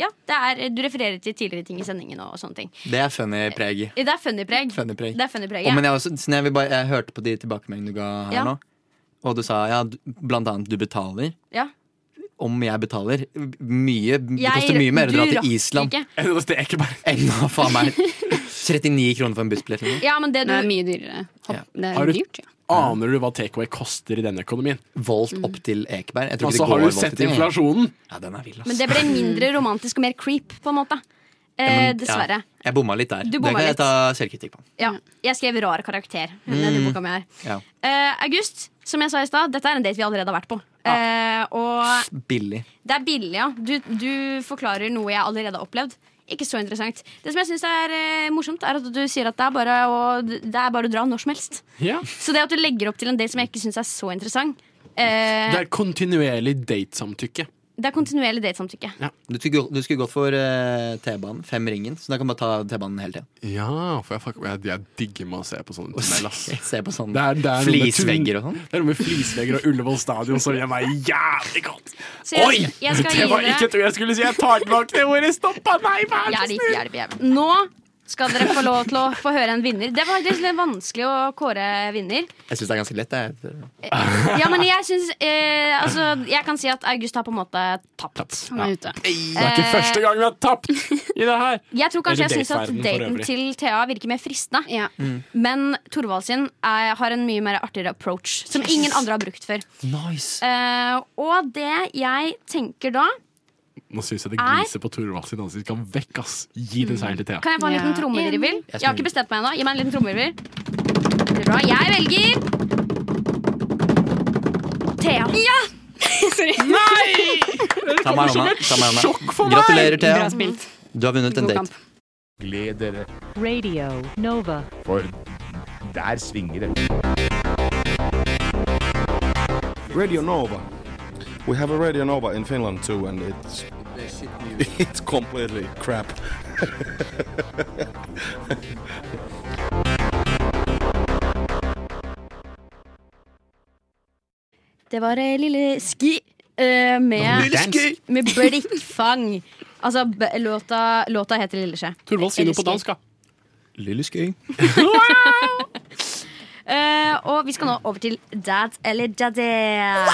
S7: ja det er, du refererer til tidligere ting i sendingen og, sånne ting.
S9: Det er funny preg.
S7: Det er funny-preg.
S9: Funny preg.
S7: Det er funny-preg,
S9: Å,
S7: ja.
S9: men jeg, også, sånn jeg, vil bare, jeg hørte på de tilbakemeldingene du ga her
S7: Ja.
S9: nå, og du sa ja, du- blant annet du betaler.
S7: ja.
S9: om jeg betaler. Mye, det
S7: Jeg-
S9: koster mye mer å
S7: du
S9: dra
S7: rakk
S9: til Island
S7: Eh, ikke.
S9: enn å steke bare. Enn å faen meg 39 kroner for en bussbillett. eller noe.
S8: Ja, men det, du, det er mye dyrere. Hopp, Det
S4: Har
S8: er
S4: du-
S8: dyrt, ja.
S4: Aner du hva takeaway koster i denne økonomien?
S9: Volt opp til Ekeberg. Jeg tror ikke
S4: altså,
S9: det går
S4: har du
S9: volt
S4: sett
S9: til Ekeberg.
S4: inflasjonen?
S9: Ja, den er vill, ass.
S7: Men det ble mindre romantisk og mer creep, på en måte. Eh,
S9: Ja, men-
S7: dessverre.
S9: Ja, jeg bomma litt der.
S7: Du bomma
S9: det
S7: litt.
S9: kan jeg ta selvkritikk på.
S7: Ja. Jeg skrev rar karakter.
S9: Mm.
S7: i denne boka mi her.
S9: Ja.
S7: Eh, August, som jeg sa i stad, dette er en date vi allerede har vært på. Eh, og
S9: Billig.
S7: det er billig, ja. Du, du forklarer noe jeg allerede har opplevd. Ikke så interessant. Det som jeg syns er eh, morsomt, er at du sier at det er bare å, det er bare å dra når som helst.
S4: Ja.
S7: Så det at du legger opp til en date som jeg ikke syns er så interessant, eh,
S4: Det er kontinuerlig datesamtykke.
S7: det er kontinuerlig datesamtykke.
S9: Du skulle, gå- du skulle gått for eh, T-banen. Fem ringen. Så da kan man ta T-banen hele tida.
S4: Ja, for jeg, fuck, jeg, jeg digger med å se på sånne tunnel, ass.
S9: Se på sånn
S4: Det er- det er noe med tun-
S9: flisvegger og sånn.
S4: Det er noe med flisvegger og Ullevål stadion som gjør meg jævlig godt.
S7: Så jeg-
S4: Oi!
S7: jeg skal gi
S4: det var
S7: dere-
S4: ikke et ord jeg skulle si! Jeg tar tilbake det ordet! Stoppa meg, vær så
S7: Hjelp,
S4: snill!
S7: hjelp, hjelp. Nå skal dere få lov til å få høre en vinner. Det var litt vanskelig å kåre vinner.
S9: Jeg syns det er ganske lett. Jeg.
S7: Ja, men jeg synes, eh, altså, Jeg kan si at August har på en måte tapt. Han er ute.
S4: Det er ikke første gang vi har tapt i det her.
S7: Jeg tror kanskje jeg
S4: Eller
S7: syns at
S4: dateverdenen for
S7: daten
S4: øvrig.
S7: til Thea virker mer fristende.
S4: Mm.
S7: Men Torvald sin er, har en mye mer artigere approach, som ingen andre har brukt før.
S9: Nice.
S7: Eh, og det jeg tenker da
S4: Nå syns jeg det gliser på Torvald sin ansikt. Kan vekk, ass. Gi den seieren til Thea.
S7: Kan jeg få en liten trommevirvel?
S4: Jeg
S7: Jeg har ikke bestemt meg ennå. Gi meg en liten trommevirvel. Det er bra. Jeg velger Thea. Ja! Sorry.
S4: Nei!
S9: Ta meg i hånda. Ta meg i hånda.
S4: Sjokk for meg!
S9: Gratulerer,
S12: Bra
S9: Thea.
S12: spilt.
S9: Du har vunnet en
S12: God
S9: date.
S5: Gled dere,
S12: Radio Nova.
S5: for der svinger det.
S14: Radio Nova. We have a Radio Nova in Finland too, and it's it's completely crap.
S7: Det var eh, Lille Ski eh, med,
S4: Lille Ski!
S7: med Blikkfang. Altså, b låta, låta heter Lille Skje.
S4: Torvald, si noe på dansk, da.
S9: Lille skøy.
S7: Eh, og vi skal nå over til Dad eller Daddy.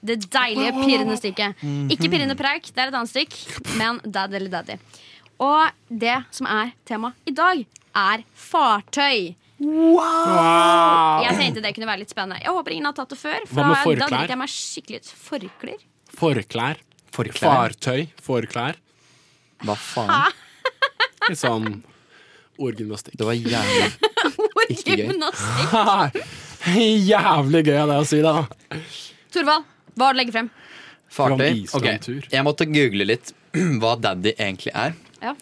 S7: Det deilige, pirrende stykket. Ikke pirrende preik, det er et annet stykk, men Dad eller Daddy. Og det som er tema i dag, er fartøy.
S4: Wow!
S7: Jeg tenkte det kunne være litt spennende. Jeg håper ingen har tatt det før. For
S4: Hva med
S7: da
S4: forklær?
S7: driter jeg meg skikkelig ut. Forklær?
S4: Forklær.
S9: Forklær.
S4: Fartøy. Forklær.
S9: Hva faen?
S4: Litt sånn ordgymnastikk.
S9: Det var jævlig
S4: ikke
S7: Gymnastikk.
S4: jævlig gøy av deg å si, da.
S7: Torvald, hva har du å legge frem?
S9: Fartøy.
S4: Island
S9: Ok, Jeg måtte google litt hva daddy egentlig er.
S7: Ja.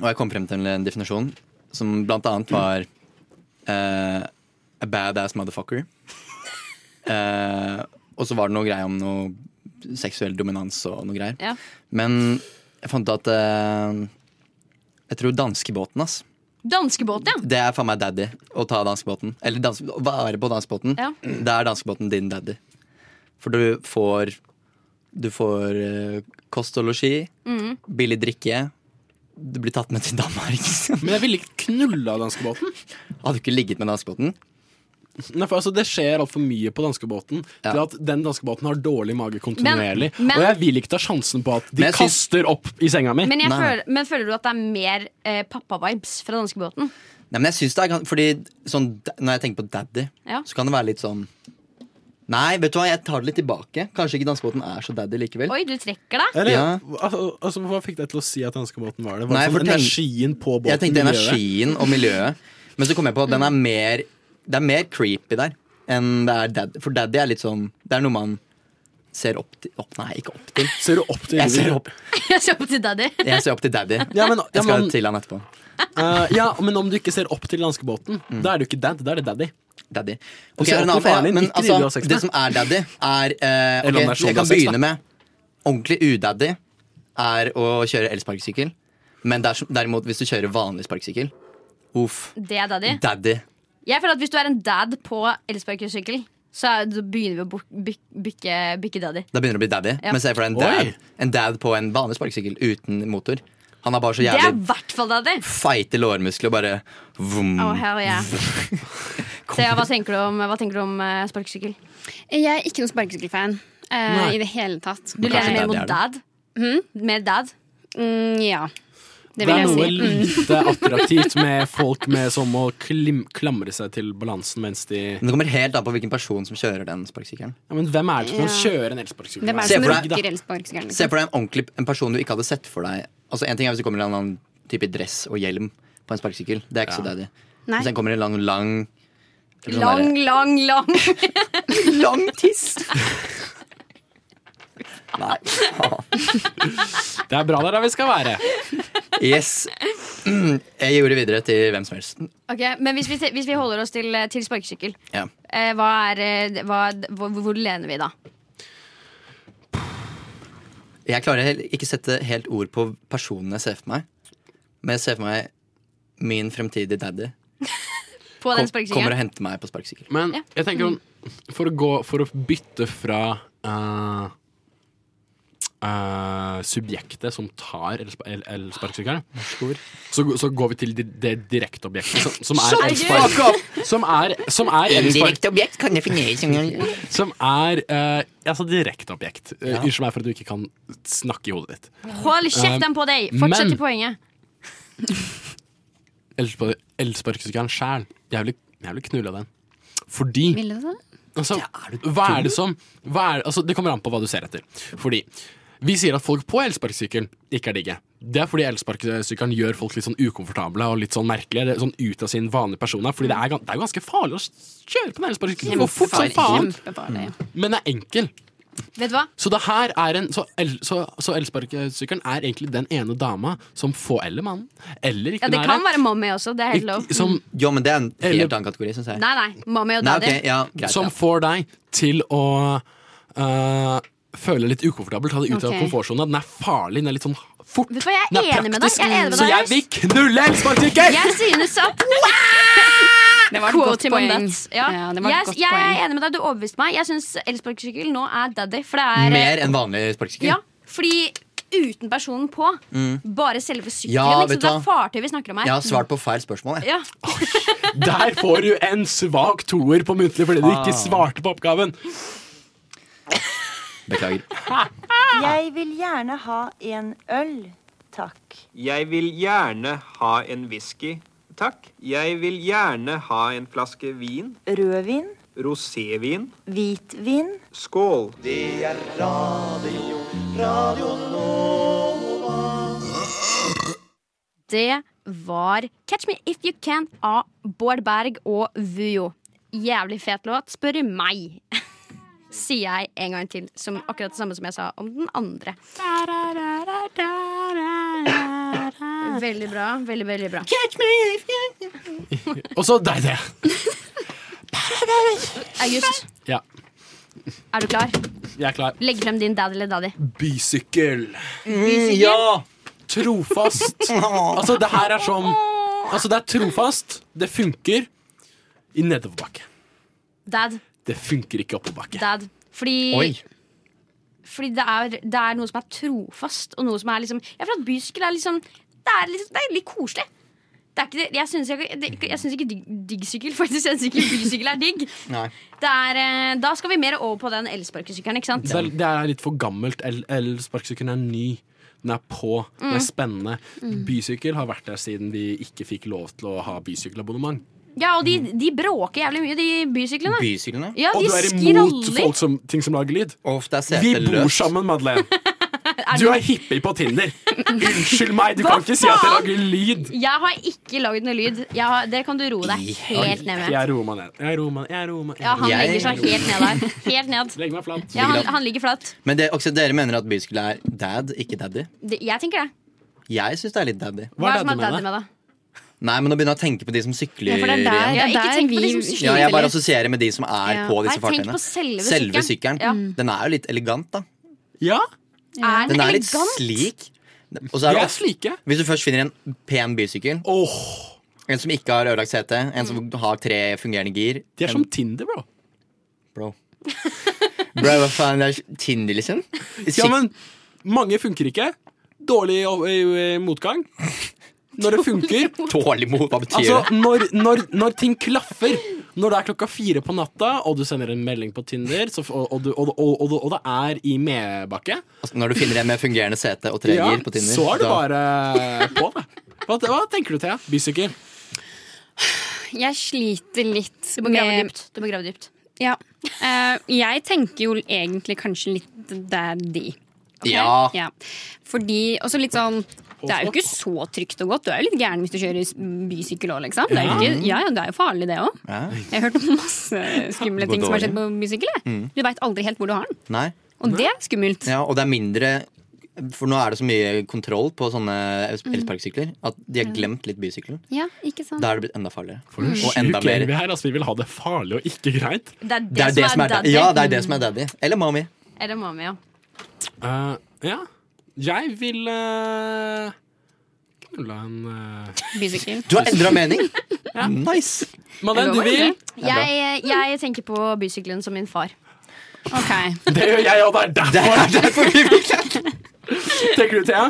S9: Og jeg kom frem til en definisjon som blant annet var eh, A badass motherfucker. Eh, og så var det noe greier om noe seksuell dominans og noe greier.
S7: Ja.
S9: Men jeg fant ut at eh, Jeg tror danskebåten, ass.
S7: Danskebåt, ja.
S9: Det er faen meg daddy å ta danskebåten. Eller danske, være på danskebåten.
S7: Ja.
S9: Det er danskebåten din daddy. For du får Du får eh, kost og losji,
S7: Mhm.
S9: billig drikke. Du blir tatt med til Danmark. liksom.
S4: Men jeg ville ikke knulla danskebåten.
S9: Hadde du ikke ligget med danskebåten?
S4: Nei, for altså, det skjer altfor mye på danskebåten til at den danskebåten har dårlig mage kontinuerlig.
S7: Men- men-
S4: og jeg vil ikke ta sjansen på at de
S9: Men jeg syns-
S4: kaster opp i senga mi.
S7: Men, jeg føler, men føler du at det er mer eh, pappa-vibes fra danskebåten?
S9: Nei, men jeg synes det er gans- Fordi sånn, da- Når jeg tenker på daddy,
S7: Ja.
S9: så kan det være litt sånn Nei, vet du hva, jeg tar det litt tilbake. Kanskje ikke danskebåten er så daddy likevel.
S7: Oi, du trekker deg?
S4: Eller,
S9: Ja.
S4: altså, altså, hva fikk deg til å si at danskebåten var det? Var
S9: Nei,
S4: det
S9: for
S4: sånn
S9: tenk-
S4: energien på båten?
S9: Jeg tenkte
S4: miljøet?
S9: energien og miljøet. Men så kom jeg på at den er mer Det er mer creepy der enn det er daddy. For daddy er litt sånn Det er noe man ser opp til opp, Nei, ikke opp til.
S4: Ser du opp til
S9: Jeg ser opp,
S7: Jeg ser opp til daddy.
S9: jeg ser opp til daddy.
S4: Ja, men- ja,
S9: jeg skal
S4: men-
S9: til han etterpå.
S4: Eh, ja, men om du ikke ser opp til danskebåten,
S9: Mm.
S4: da er du ikke dad, da er det daddy.
S9: Daddy.
S4: Du
S9: Ok,
S4: ser
S9: Arne,
S4: opp til faren din,
S9: men
S4: ikke de du har
S9: altså,
S4: sex
S9: det
S4: med.
S9: som er daddy, er eh,
S4: Eller om
S9: ok,
S4: det er sånn
S9: Jeg
S4: du har
S9: kan
S4: sex, da.
S9: begynne med ordentlig udaddy er å kjøre elsparkesykkel. Men ders- derimot, hvis du kjører vanlig sparkesykkel, uff.
S7: Det er daddy.
S9: Daddy.
S7: Jeg føler at Hvis du er en dad på elsparkesykkel, så er- da begynner vi å buk- byk- bykke, bykke daddy.
S9: Da begynner det å bli daddy.
S7: Ja.
S9: Men se for deg en
S7: Oi.
S9: dad, en dad på en vanlig sparkesykkel uten motor. Han har bare så
S7: Det er i
S9: jævlig
S7: hvert fall daddy.
S9: feite lårmuskler og bare vum.
S7: Oh, hell yeah. Thea, hva tenker du om, hva tenker du om eh, sparkesykkel?
S8: Jeg er ikke noen sparkesykkelfan. Eh, eh,
S7: Nei.
S8: i det hele tatt.
S7: Du lener mer mot dad? Hmm? Mer dad?
S8: Mm, ja. Det
S4: Det,
S8: vil
S4: er noe
S8: jeg si. Mm.
S4: lite attraktivt med folk med som må klim, klamre seg til balansen mens de
S9: Men Det kommer helt an på hvilken person som kjører den sparkesykkelen.
S4: ja, Men hvem er det som kan
S8: Ja.
S4: kjøre en elsparkesykkel?
S8: Hvem er sånn det
S9: Se
S8: som
S9: for deg-
S8: bruker elsparkesykkelen?
S9: Se for deg en ordentlig en person du ikke hadde sett for deg. Altså En ting er hvis det kommer en eller annen type dress og hjelm på en sparkesykkel. Det er ikke så daddy.
S7: Nei.
S9: Hvis den kommer en lang, lang sånn
S7: Lang,
S9: der-
S7: lang, lang.
S9: lang tiss! Nei.
S4: Det er bra det er der vi skal være.
S9: Yes. Jeg gjorde videre til hvem som helst.
S7: Ok, Men hvis vi, hvis vi holder oss til, eh, til sparkesykkel,
S9: Ja.
S7: eh, hva er, eh, hva, hvor, hvor lener vi da?
S9: Jeg klarer hel- ikke sette helt ord på personen jeg ser for meg. Men jeg ser for meg min fremtidige daddy
S7: På den
S9: kom, kommer og
S7: sparkesykkelen?
S9: henter meg på sparkesykkel.
S4: Men
S7: Ja.
S4: jeg tenker om, for, å gå, for å bytte fra eh, eh, subjektet som tar elspa- el- elsparkesykkelen, så, så går vi til di- det direkte objektet som, som er
S9: Shut the fuck
S4: elspark- Som er, som er elspark-
S9: objekt kan defineres som
S4: Som er eh, altså direkte objekt. Eh,
S9: Ja.
S4: Unnskyld meg for at du ikke kan snakke i hodet ditt.
S7: Hold kjeften på deg! Fortsett
S4: men-
S7: til poenget.
S4: Elspa- Elsparkesykkelen sjæl. Jeg ville jeg ville knulla den. Fordi altså, Hva er det som hva er, altså, Det kommer an på hva du ser etter. Fordi vi sier at folk på elsparkesykkelen ikke er digge. Det er fordi elsparkesykkelen gjør folk litt sånn ukomfortable og litt sånn merkelige. Det er Sånn ut av sin vanlige persona. Fordi det er, gan- det er jo ganske farlig å kjøre på en elsparkesykkel. Det går fort som faen.
S8: Kjempefarlig.
S4: Men den er enkel.
S7: Vet du hva?
S4: Så det her er en Så, el, så, så elsparkesykkelen er egentlig den ene dama som får eller mannen. Eller ikke
S7: Ja, det
S4: nære.
S7: kan være mommy også. Det er helt lov.
S4: Ikke- som,
S9: Jo, men det er en helt annen kategori, syns jeg.
S7: Nei, nei. Mommy og
S9: Nei,
S7: daddy.
S9: ok, ja, greit,
S4: som
S9: ja.
S4: får deg til å øh, føle litt ukomfortabel, ta det ut av
S7: Ok.
S4: komfortsona. Den er farlig, den er litt sånn fort.
S7: Vet du hva, jeg
S4: Den
S7: er enig med deg. Jeg er enig med
S4: så
S7: deg.
S4: jeg vil knulle elsparkesykkel!
S7: Jeg synes at
S8: Det var et
S7: Quote
S8: godt
S7: him on
S8: poeng.
S7: that. Ja.
S8: Ja, det var et
S7: jeg,
S8: godt
S7: jeg
S8: poeng.
S7: er enig med deg, du overbeviste meg. Jeg syns elsparkesykkel nå er daddy. For det er eh,
S9: Mer enn vanlig sparkesykkel.
S7: Ja, fordi uten personen på.
S9: Mm.
S7: Bare selve sykkelen.
S9: Ja,
S7: ikke
S9: vet
S7: sant?
S9: du
S7: det er
S9: hva?
S7: fartøy vi snakker om her.
S9: Jeg har svart på feil spørsmål. Jeg.
S7: Ja.
S4: Der får du en svak toer på muntlig fordi du ikke svarte på oppgaven.
S9: Beklager.
S15: Jeg vil gjerne ha en øl, takk.
S16: Jeg vil gjerne ha en whisky. Takk. Jeg vil gjerne ha en flaske vin.
S15: Rødvin,
S16: Rosévin.
S15: hvitvin.
S16: Skål.
S15: Det er radio, radio Nova.
S7: Det var Catch Me If You Can av Bård Berg og Vujo. Jævlig fet låt, spør meg. Sier jeg en gang til, som akkurat det samme som jeg sa om den andre. Veldig bra. Veldig, veldig bra. Catch me if you
S4: Og så deg, det.
S7: August,
S4: Ja,
S7: er du klar?
S4: jeg er klar.
S7: Legg frem din daddy eller daddy.
S4: Bysykkel. Mm,
S7: Bysykkel? ja.
S4: Trofast. Altså, det her er som Altså, det er trofast. Det funker i nedoverbakke.
S7: Dad.
S4: Det funker ikke oppoverbakke.
S7: Dad. Fordi
S4: Oi.
S7: Fordi det er, det er noe som er trofast, og noe som er liksom Jeg føler at bysykkel er liksom Det er litt, det er litt koselig. Det er ikke det, jeg syns jeg- det- jeg syns ikke digg digg sykkel, faktisk. Jeg syns ikke bysykkel er digg.
S9: Nei.
S7: Det er, eh, da skal vi mer over på den elsparkesykkelen, ikke sant?
S4: Det er, det er litt for gammelt. El- Elsparkesykkelen er ny. Den er på. Den
S7: Mm.
S4: er spennende.
S7: Mm.
S4: Bysykkel har vært der siden vi ikke fikk lov til å ha bysykkelabonnement.
S7: Ja, og de, de bråker jævlig mye, de bysyklene.
S9: Bysyklene?
S7: Ja,
S4: Og
S7: de
S4: du er imot
S7: skraller.
S4: folk som, ting som lager lyd. Vi
S9: seteløst.
S4: bor sammen, Madeleine.
S7: Er
S4: Du
S7: det-
S4: er hippie på Tinder. Unnskyld meg, du
S7: Hva
S4: kan ikke si at jeg
S7: faen?
S4: lager lyd.
S7: Jeg har ikke lagd noe lyd. Jeg har, det kan du roe deg helt ned med.
S4: Jeg roer meg ned. Jeg roer meg jeg roer meg- jeg
S7: Ja, han
S4: roer meg.
S7: legger seg helt ned der. Helt ned.
S4: Legg meg flat.
S7: Ja, han, han ligger flatt.
S9: Men det, også, dere mener at bysykkel er dad, ikke daddy.
S7: Det- Jeg tenker det.
S9: Jeg syns det er litt daddy.
S7: Hva er det som er daddy med det?
S9: Nei, men Nå begynner jeg å tenke på de som sykler.
S7: Ja, for det er der-
S9: igjen.
S7: det er Ja, ikke der tenk på de vi- som
S8: liksom.
S7: sykler.
S9: ja, jeg bare assosierer med de som er
S7: Ja.
S9: på
S7: Nei,
S9: disse
S7: tenk
S9: fartøyene.
S7: på selve sykkelen.
S9: sykkelen.
S4: Mm.
S9: Den er jo litt elegant, da.
S7: Er
S9: Den
S7: den
S9: er litt
S7: elegant?
S9: slik. Og
S4: De er
S9: ofte- Hvis du først finner en pen bysykkel En som ikke har ødelagt sete, en som
S7: Mm.
S9: har tre fungerende gir
S4: De er sånn- som Tinder, bro.
S9: Bro. Bro, hva faen, det er Tinder, liksom?
S4: Ja, men mange funker ikke. Dårlig eh, motgang. Når det funker
S9: Dårlig mot, hva betyr
S4: Altså, når, når, når ting klaffer Når det er klokka fire på natta, og du sender en melding på Tinder, så, f- og, og, du- og, og, og, og det er i medbakke
S9: Altså, når du finner en med fungerende sete og treer på Tinder
S4: så er du
S9: da-
S4: bare på, da. Hva, hva tenker du, Thea? Bysykkel?
S8: Jeg sliter litt
S7: Du må grave dypt. Du må grave dypt.
S8: Ja. Eh, jeg tenker jo egentlig kanskje litt der de.
S9: Ja.
S8: Fordi, også litt sånn det er jo ikke så trygt og godt. Du er jo litt gæren hvis du kjører s- bysykkel òg, liksom. Det er jo, ikke, ja, ja, det er jo farlig, det òg.
S9: Ja.
S8: Jeg har hørt om masse skumle
S9: Går
S8: ting som har
S9: dårlig.
S8: skjedd på bysykkel. jeg.
S9: Mm.
S8: Du veit aldri helt hvor du har den.
S9: Nei.
S8: Og det er skummelt.
S9: Ja, og det er mindre For nå er det så mye kontroll på sånne
S7: Mm.
S9: elsparkesykler at de har
S8: Ja.
S9: glemt litt bysykkelen.
S8: Ja, ikke sant.
S9: Da er det blitt enda farligere.
S4: For en
S9: Og enda
S4: sjuk
S9: mer.
S4: gjeng vi er. Altså, vi vil ha det farlig og ikke greit.
S7: Det er
S9: Det er det som er daddy. Ja, det er det som er daddy. Eller mommy.
S7: Er det mamma, ja.
S4: Eh, ja. Jeg vil uh, knulla en eh,
S8: Bysykkel.
S9: Du har endra mening! Nice!
S4: Madeleine, du vil?
S7: Jeg, eh, jeg tenker på bysykkelen som min far.
S4: Det gjør jeg, og det er derfor! Tenker du, Thea?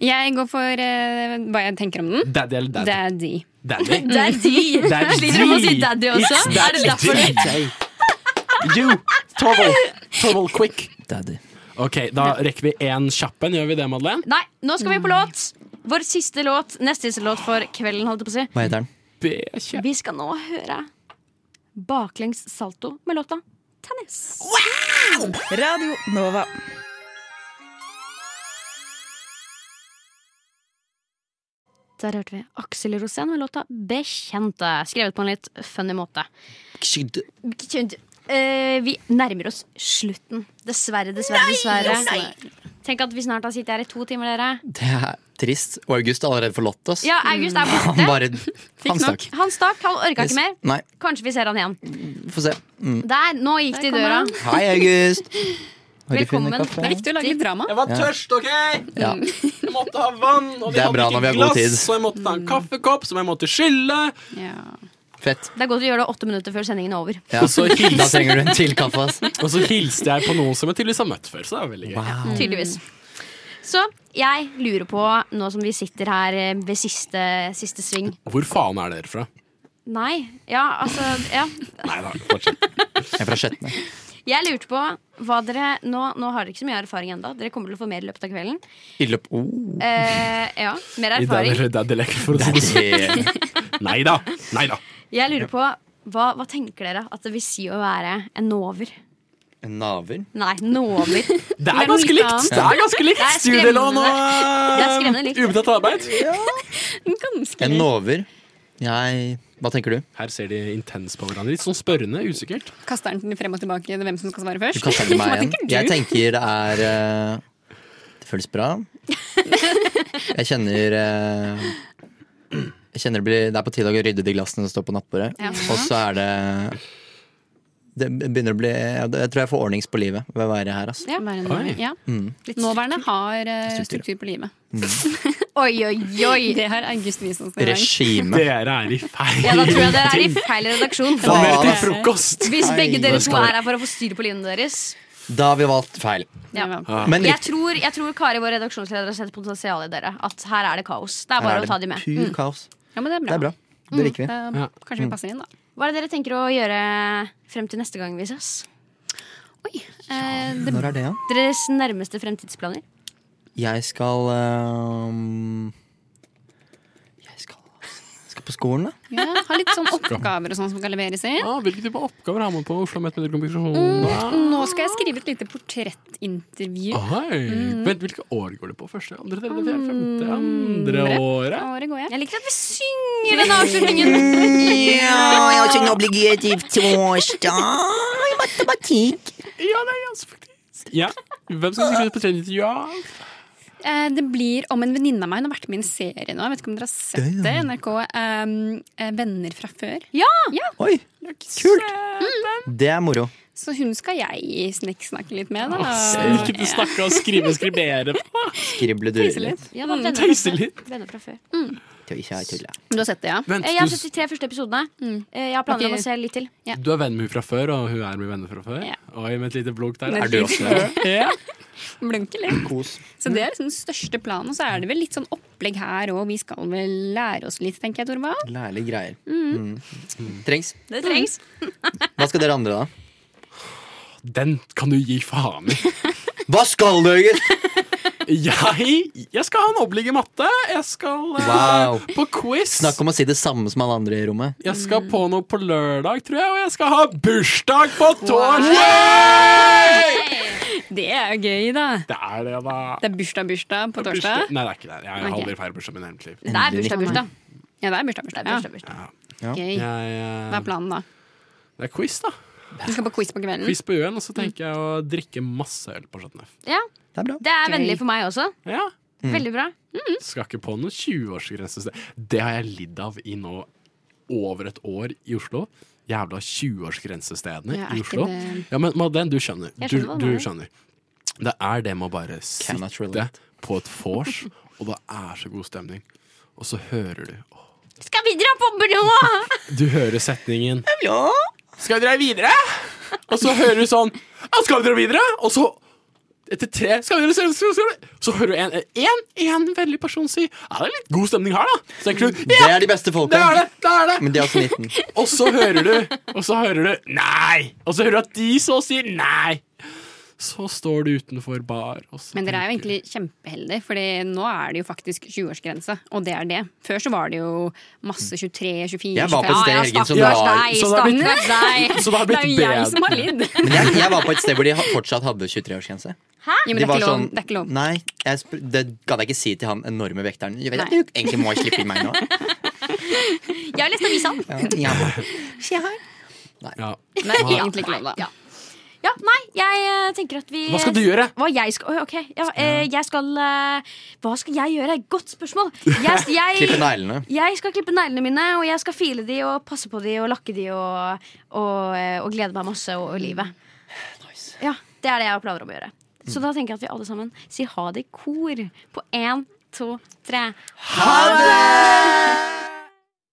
S8: Jeg går for eh, hva jeg tenker om den.
S4: Daddy eller daddy?
S8: Daddy.
S4: Daddy.
S8: Daddy.
S4: Daddy.
S8: Sliter du med å si daddy også?
S4: It's
S8: Er det derfor det-
S4: daddy. You, Torvald. Torvald, quick.
S9: Daddy.
S4: Ok, da rekker vi én kjapp en. Gjør vi det, Madeleine?
S7: Nei, nå skal vi på låt. Vår siste låt. Nest siste låt for kvelden, holdt jeg på å si.
S9: Hva heter den?
S7: Vi skal nå høre Baklengs salto med låta Tennis.
S11: Radio Nova.
S7: Der hørte vi Aksel Rosén med låta 'Bekjente', skrevet på en litt funny måte. Eh, vi nærmer oss slutten. Dessverre, dessverre, dessverre. Tenk at vi snart har sittet her i to timer, dere.
S9: Det er trist. Og August har allerede forlatt oss.
S7: Ja, August er borte.
S9: Han bare Han stakk.
S7: Han stakk, han orka ikke mer.
S9: Nei,
S7: Kanskje vi ser han igjen.
S9: vi får se. Mm.
S7: Der, nå gikk det i døra.
S9: Hei, August. Har du
S7: Velkommen.
S9: funnet kaffe?
S7: Det er viktig å lage litt drama.
S4: Jeg var tørst, OK?
S9: Ja.
S4: Jeg måtte ha vann, og vi
S9: Det er
S4: hadde
S9: bra
S4: ikke
S9: når vi har god
S4: glass,
S9: tid.
S4: Så jeg måtte ta en kaffekopp, som jeg måtte skylle.
S9: Fett.
S7: Det er godt å gjøre det åtte minutter før sendingen er over.
S9: Ja, da trenger du en til kaffe. ass.
S4: Og så hilste jeg på noen som jeg tydeligvis har møtt før, så det er veldig gøy.
S7: Mm. Tydeligvis. Så jeg lurer på, nå som vi sitter her eh, ved siste, siste sving
S4: Hvor faen er dere fra?
S7: Nei. Ja, altså ja.
S4: Nei da, fortsett.
S9: Jeg er fra Skjetne.
S7: Jeg lurte på hva dere Nå, nå har dere ikke så mye erfaring ennå. Dere kommer til å få mer i løpet av kvelden.
S9: I løpet oh.
S7: Eh, ja, mer
S4: I dag
S7: erfaring.
S4: er det daddy-leker, for å si det sånn. Nei da. Nei da.
S7: Jeg lurer på hva, hva tenker dere at det vil si å være en nover?
S9: En naver.
S7: Nei, nover.
S4: Det er ganske likt. Det er ganske likt.
S7: Det er
S4: Studielån og
S7: skremmende. Det er skremmende likt.
S4: eh, ubetalt arbeid.
S7: Ganske
S9: En
S7: likt.
S9: nover. Jeg Hva tenker du?
S4: Her ser de intens på hverandre. Litt sånn spørrende, usikkert.
S8: Kaster den frem og tilbake. Det er hvem som skal svare
S9: Du
S8: først.
S9: kaster den til
S8: Hva
S9: meg
S8: tenker
S9: igjen.
S8: du?
S9: Jeg tenker det er eh, Det føles bra. Jeg kjenner eh, Jeg kjenner det, blir, det er på tide å rydde de glassene som står på nattbordet.
S7: Ja.
S9: Og så er det Det begynner å bli Jeg tror jeg får ordnings på livet ved å være her. Altså.
S7: Ja.
S8: Oi. Ja.
S9: Mm.
S8: Nåværende har eh, struktur på livet.
S7: Oi, oi, oi.
S8: Det har August vist oss. en gang.
S9: Regime.
S4: Dere er i feil
S7: Ja, da tror jeg dere er i feil redaksjon.
S9: Få mer til
S4: frokost.
S7: Hvis begge dere
S9: Nei.
S7: to er her for å få styr på livene deres.
S9: Da har vi valgt feil.
S7: Ja.
S9: Men
S7: Jeg,
S9: litt
S7: tror, jeg tror Kari, vår redaksjonsleder, har sett potensial i dere. At her er det kaos. Det er
S9: Her
S7: bare
S9: er
S7: å
S9: det
S7: ta de med. Mm.
S9: pur kaos.
S8: Ja, men det er bra.
S9: Det er bra. Det liker vi.
S8: Da Kanskje vi passer inn, da.
S7: Hva er det dere tenker å gjøre frem til neste gang vi ses?
S8: Eh, det,
S9: Når er det, da?
S7: Deres nærmeste fremtidsplaner?
S9: Jeg skal ehm, Jeg skal, skal på skolen, da.
S8: ja, har litt sånn oppgaver og sånn som kan leveres inn.
S4: Ja, Ah, hvilke type oppgaver har man på Oslo Met Ah, Mediekommunikasjon?
S8: Nå skal jeg skrive et lite portrettintervju.
S4: Oi. Vent, hvilke år går det på? Første, andre, tredje, fjerde, femte, andre året?
S8: Året går jeg.
S7: Jeg liker at vi synger den avslutningen.
S3: Ja, jeg har ikke en obligativ torsdag i matematikk.
S4: Ja, nei, altså, faktisk. Ja. Hvem skal skrive ut på tredje intervju? Ja.
S8: Eh, Det blir om en venninne av meg. Hun har vært med i en serie nå. Jeg vet ikke om dere har sett det. NRK ehm, eh, Venner fra før.
S7: Ja!
S9: Oi, kult! Det er moro.
S8: Så hun skal jeg sniksnakke litt med, da.
S4: Ikke til snakke og skrive og skribere.
S9: Skrible
S8: Tøyse
S9: durer litt.
S8: litt.
S7: Ja, da, venner fra
S4: Tøyse
S7: før.
S4: litt.
S7: Venner fra før. Eh,
S9: Tøyse er tulle.
S8: Du har sett det, ja?
S4: Vent,
S7: Jeg har
S4: du-
S7: sett de tre første episodene.
S9: Mm.
S7: Eh, Jeg har planer om
S8: Ok.
S7: å se litt til.
S4: Du er venn med henne fra før, og hun er med venner fra før? Oi, med et lite blunk der.
S8: Med et
S4: Er du
S8: lite
S4: også det? Ja.
S8: Blunkelig.
S9: Kos.
S8: Så det er liksom den største planen. Og så er det vel litt sånn opplegg her òg. Vi skal vel lære oss litt, tenker jeg, Torvald.
S9: Lærlige greier.
S8: Mm.
S9: Mm. Trengs. Mm.
S8: Det trengs.
S9: Hva skal dere andre, da?
S4: Den kan du gi faen i.
S9: Hva skal du, Jørgen?
S4: Jeg, jeg skal ha en oblig i matte. Jeg skal eh,
S9: Wow.
S4: på quiz.
S9: Snakk om å si det samme som alle andre i rommet.
S4: Jeg skal på noe på lørdag, tror jeg, og jeg skal ha bursdag på torsdag!
S8: Det er gøy, da.
S4: Det er det, da.
S8: Det er bursdag-bursdag på torsdag.
S4: Nei, det er ikke det. Jeg har
S8: Ok.
S4: aldri feiret bursdag i mitt hele liv.
S8: Det er bursdag-bursdag. Ja, det er bursdag-bursdag. Ja.
S4: Ja.
S8: Gøy.
S4: Jeg, eh,
S8: Hva er planen, da?
S4: Det er quiz, da.
S8: Vi skal på quiz på kvelden.
S4: Quiz på UN,
S7: Mm.
S4: og så tenker jeg å drikke masse øl på 17F.
S7: Ja.
S9: Det er,
S4: Gøy.
S7: vennlig for meg også.
S4: Mm.
S7: Veldig bra. Mm.
S4: Skal ikke på noen 20-årsgrense. Det har jeg lidd av i nå over et år i Oslo. Jævla 20-årsgrensestedene
S7: Ja, er
S4: i
S7: ikke
S4: Oslo.
S7: det-
S4: Ja, men Madeleine, du skjønner.
S7: Jeg
S4: Du,
S7: skjønner hva du
S4: du
S7: mener.
S4: skjønner. Det er det med å bare sitte på et vors, og det er så god stemning. Og så hører du
S7: Skal vi dra på broa?
S4: Du hører setningen Skal vi dra videre? Og så hører du sånn ja, Skal vi dra videre? Og så etter tre skal vi dra, skal vi- skal vi- skal vi? Så hører du en, en, en veldig person si Ja, det er litt god stemning her, da. Så tenker du
S9: Det
S4: ja,
S9: er de beste folka.
S4: Det er det, det er det.
S9: Men de er også 19.
S4: Og så hører du Og så hører du Nei! Og så hører du at de så sier nei. Så står du utenfor bar. Og så
S8: Men dere er jo egentlig kjempeheldige, Fordi nå er det jo faktisk 20-årsgrense, og det er det. Før så var det jo masse 23, 24,
S9: Mm. Jeg var på et
S8: 25.
S9: sted i helgen som var-
S8: Så det har blitt, deg.
S9: så det har blitt
S8: det er jo jeg
S9: bedre.
S8: som har lidd.
S9: Men jeg, jeg var på et sted hvor de ha- fortsatt hadde 23-årsgrense.
S8: Hæ? Ja, men
S9: De
S8: det, er
S9: var
S8: ikke lov,
S9: sånn-
S8: det er ikke lov.
S9: Nei, jeg spr det gadd jeg ikke si til han enorme vekteren. Jeg vet
S8: Nei.
S9: at du egentlig må slippe inn meg nå.
S7: Jeg har lest avisa.
S9: Ja, ja.
S7: Se her.
S4: Ja.
S7: Nei,
S4: Hva-
S7: egentlig ikke lov, da. Ja. Ja, nei, jeg eh, tenker at vi
S4: Hva skal du gjøre?
S7: Hva jeg skal, Oi, ok, ja, eh, jeg skal eh, Hva skal jeg gjøre? Godt spørsmål. Jeg, jeg,
S9: Klippe neglene.
S7: Jeg skal klippe neglene mine, og jeg skal file de og passe på de og lakke de og, og, eh, og glede meg masse over livet. Ja, Det er det jeg har planer om å gjøre.
S4: Mm.
S7: Så da tenker jeg at vi alle sammen sier ha det i kor på én, to, tre. Ha det!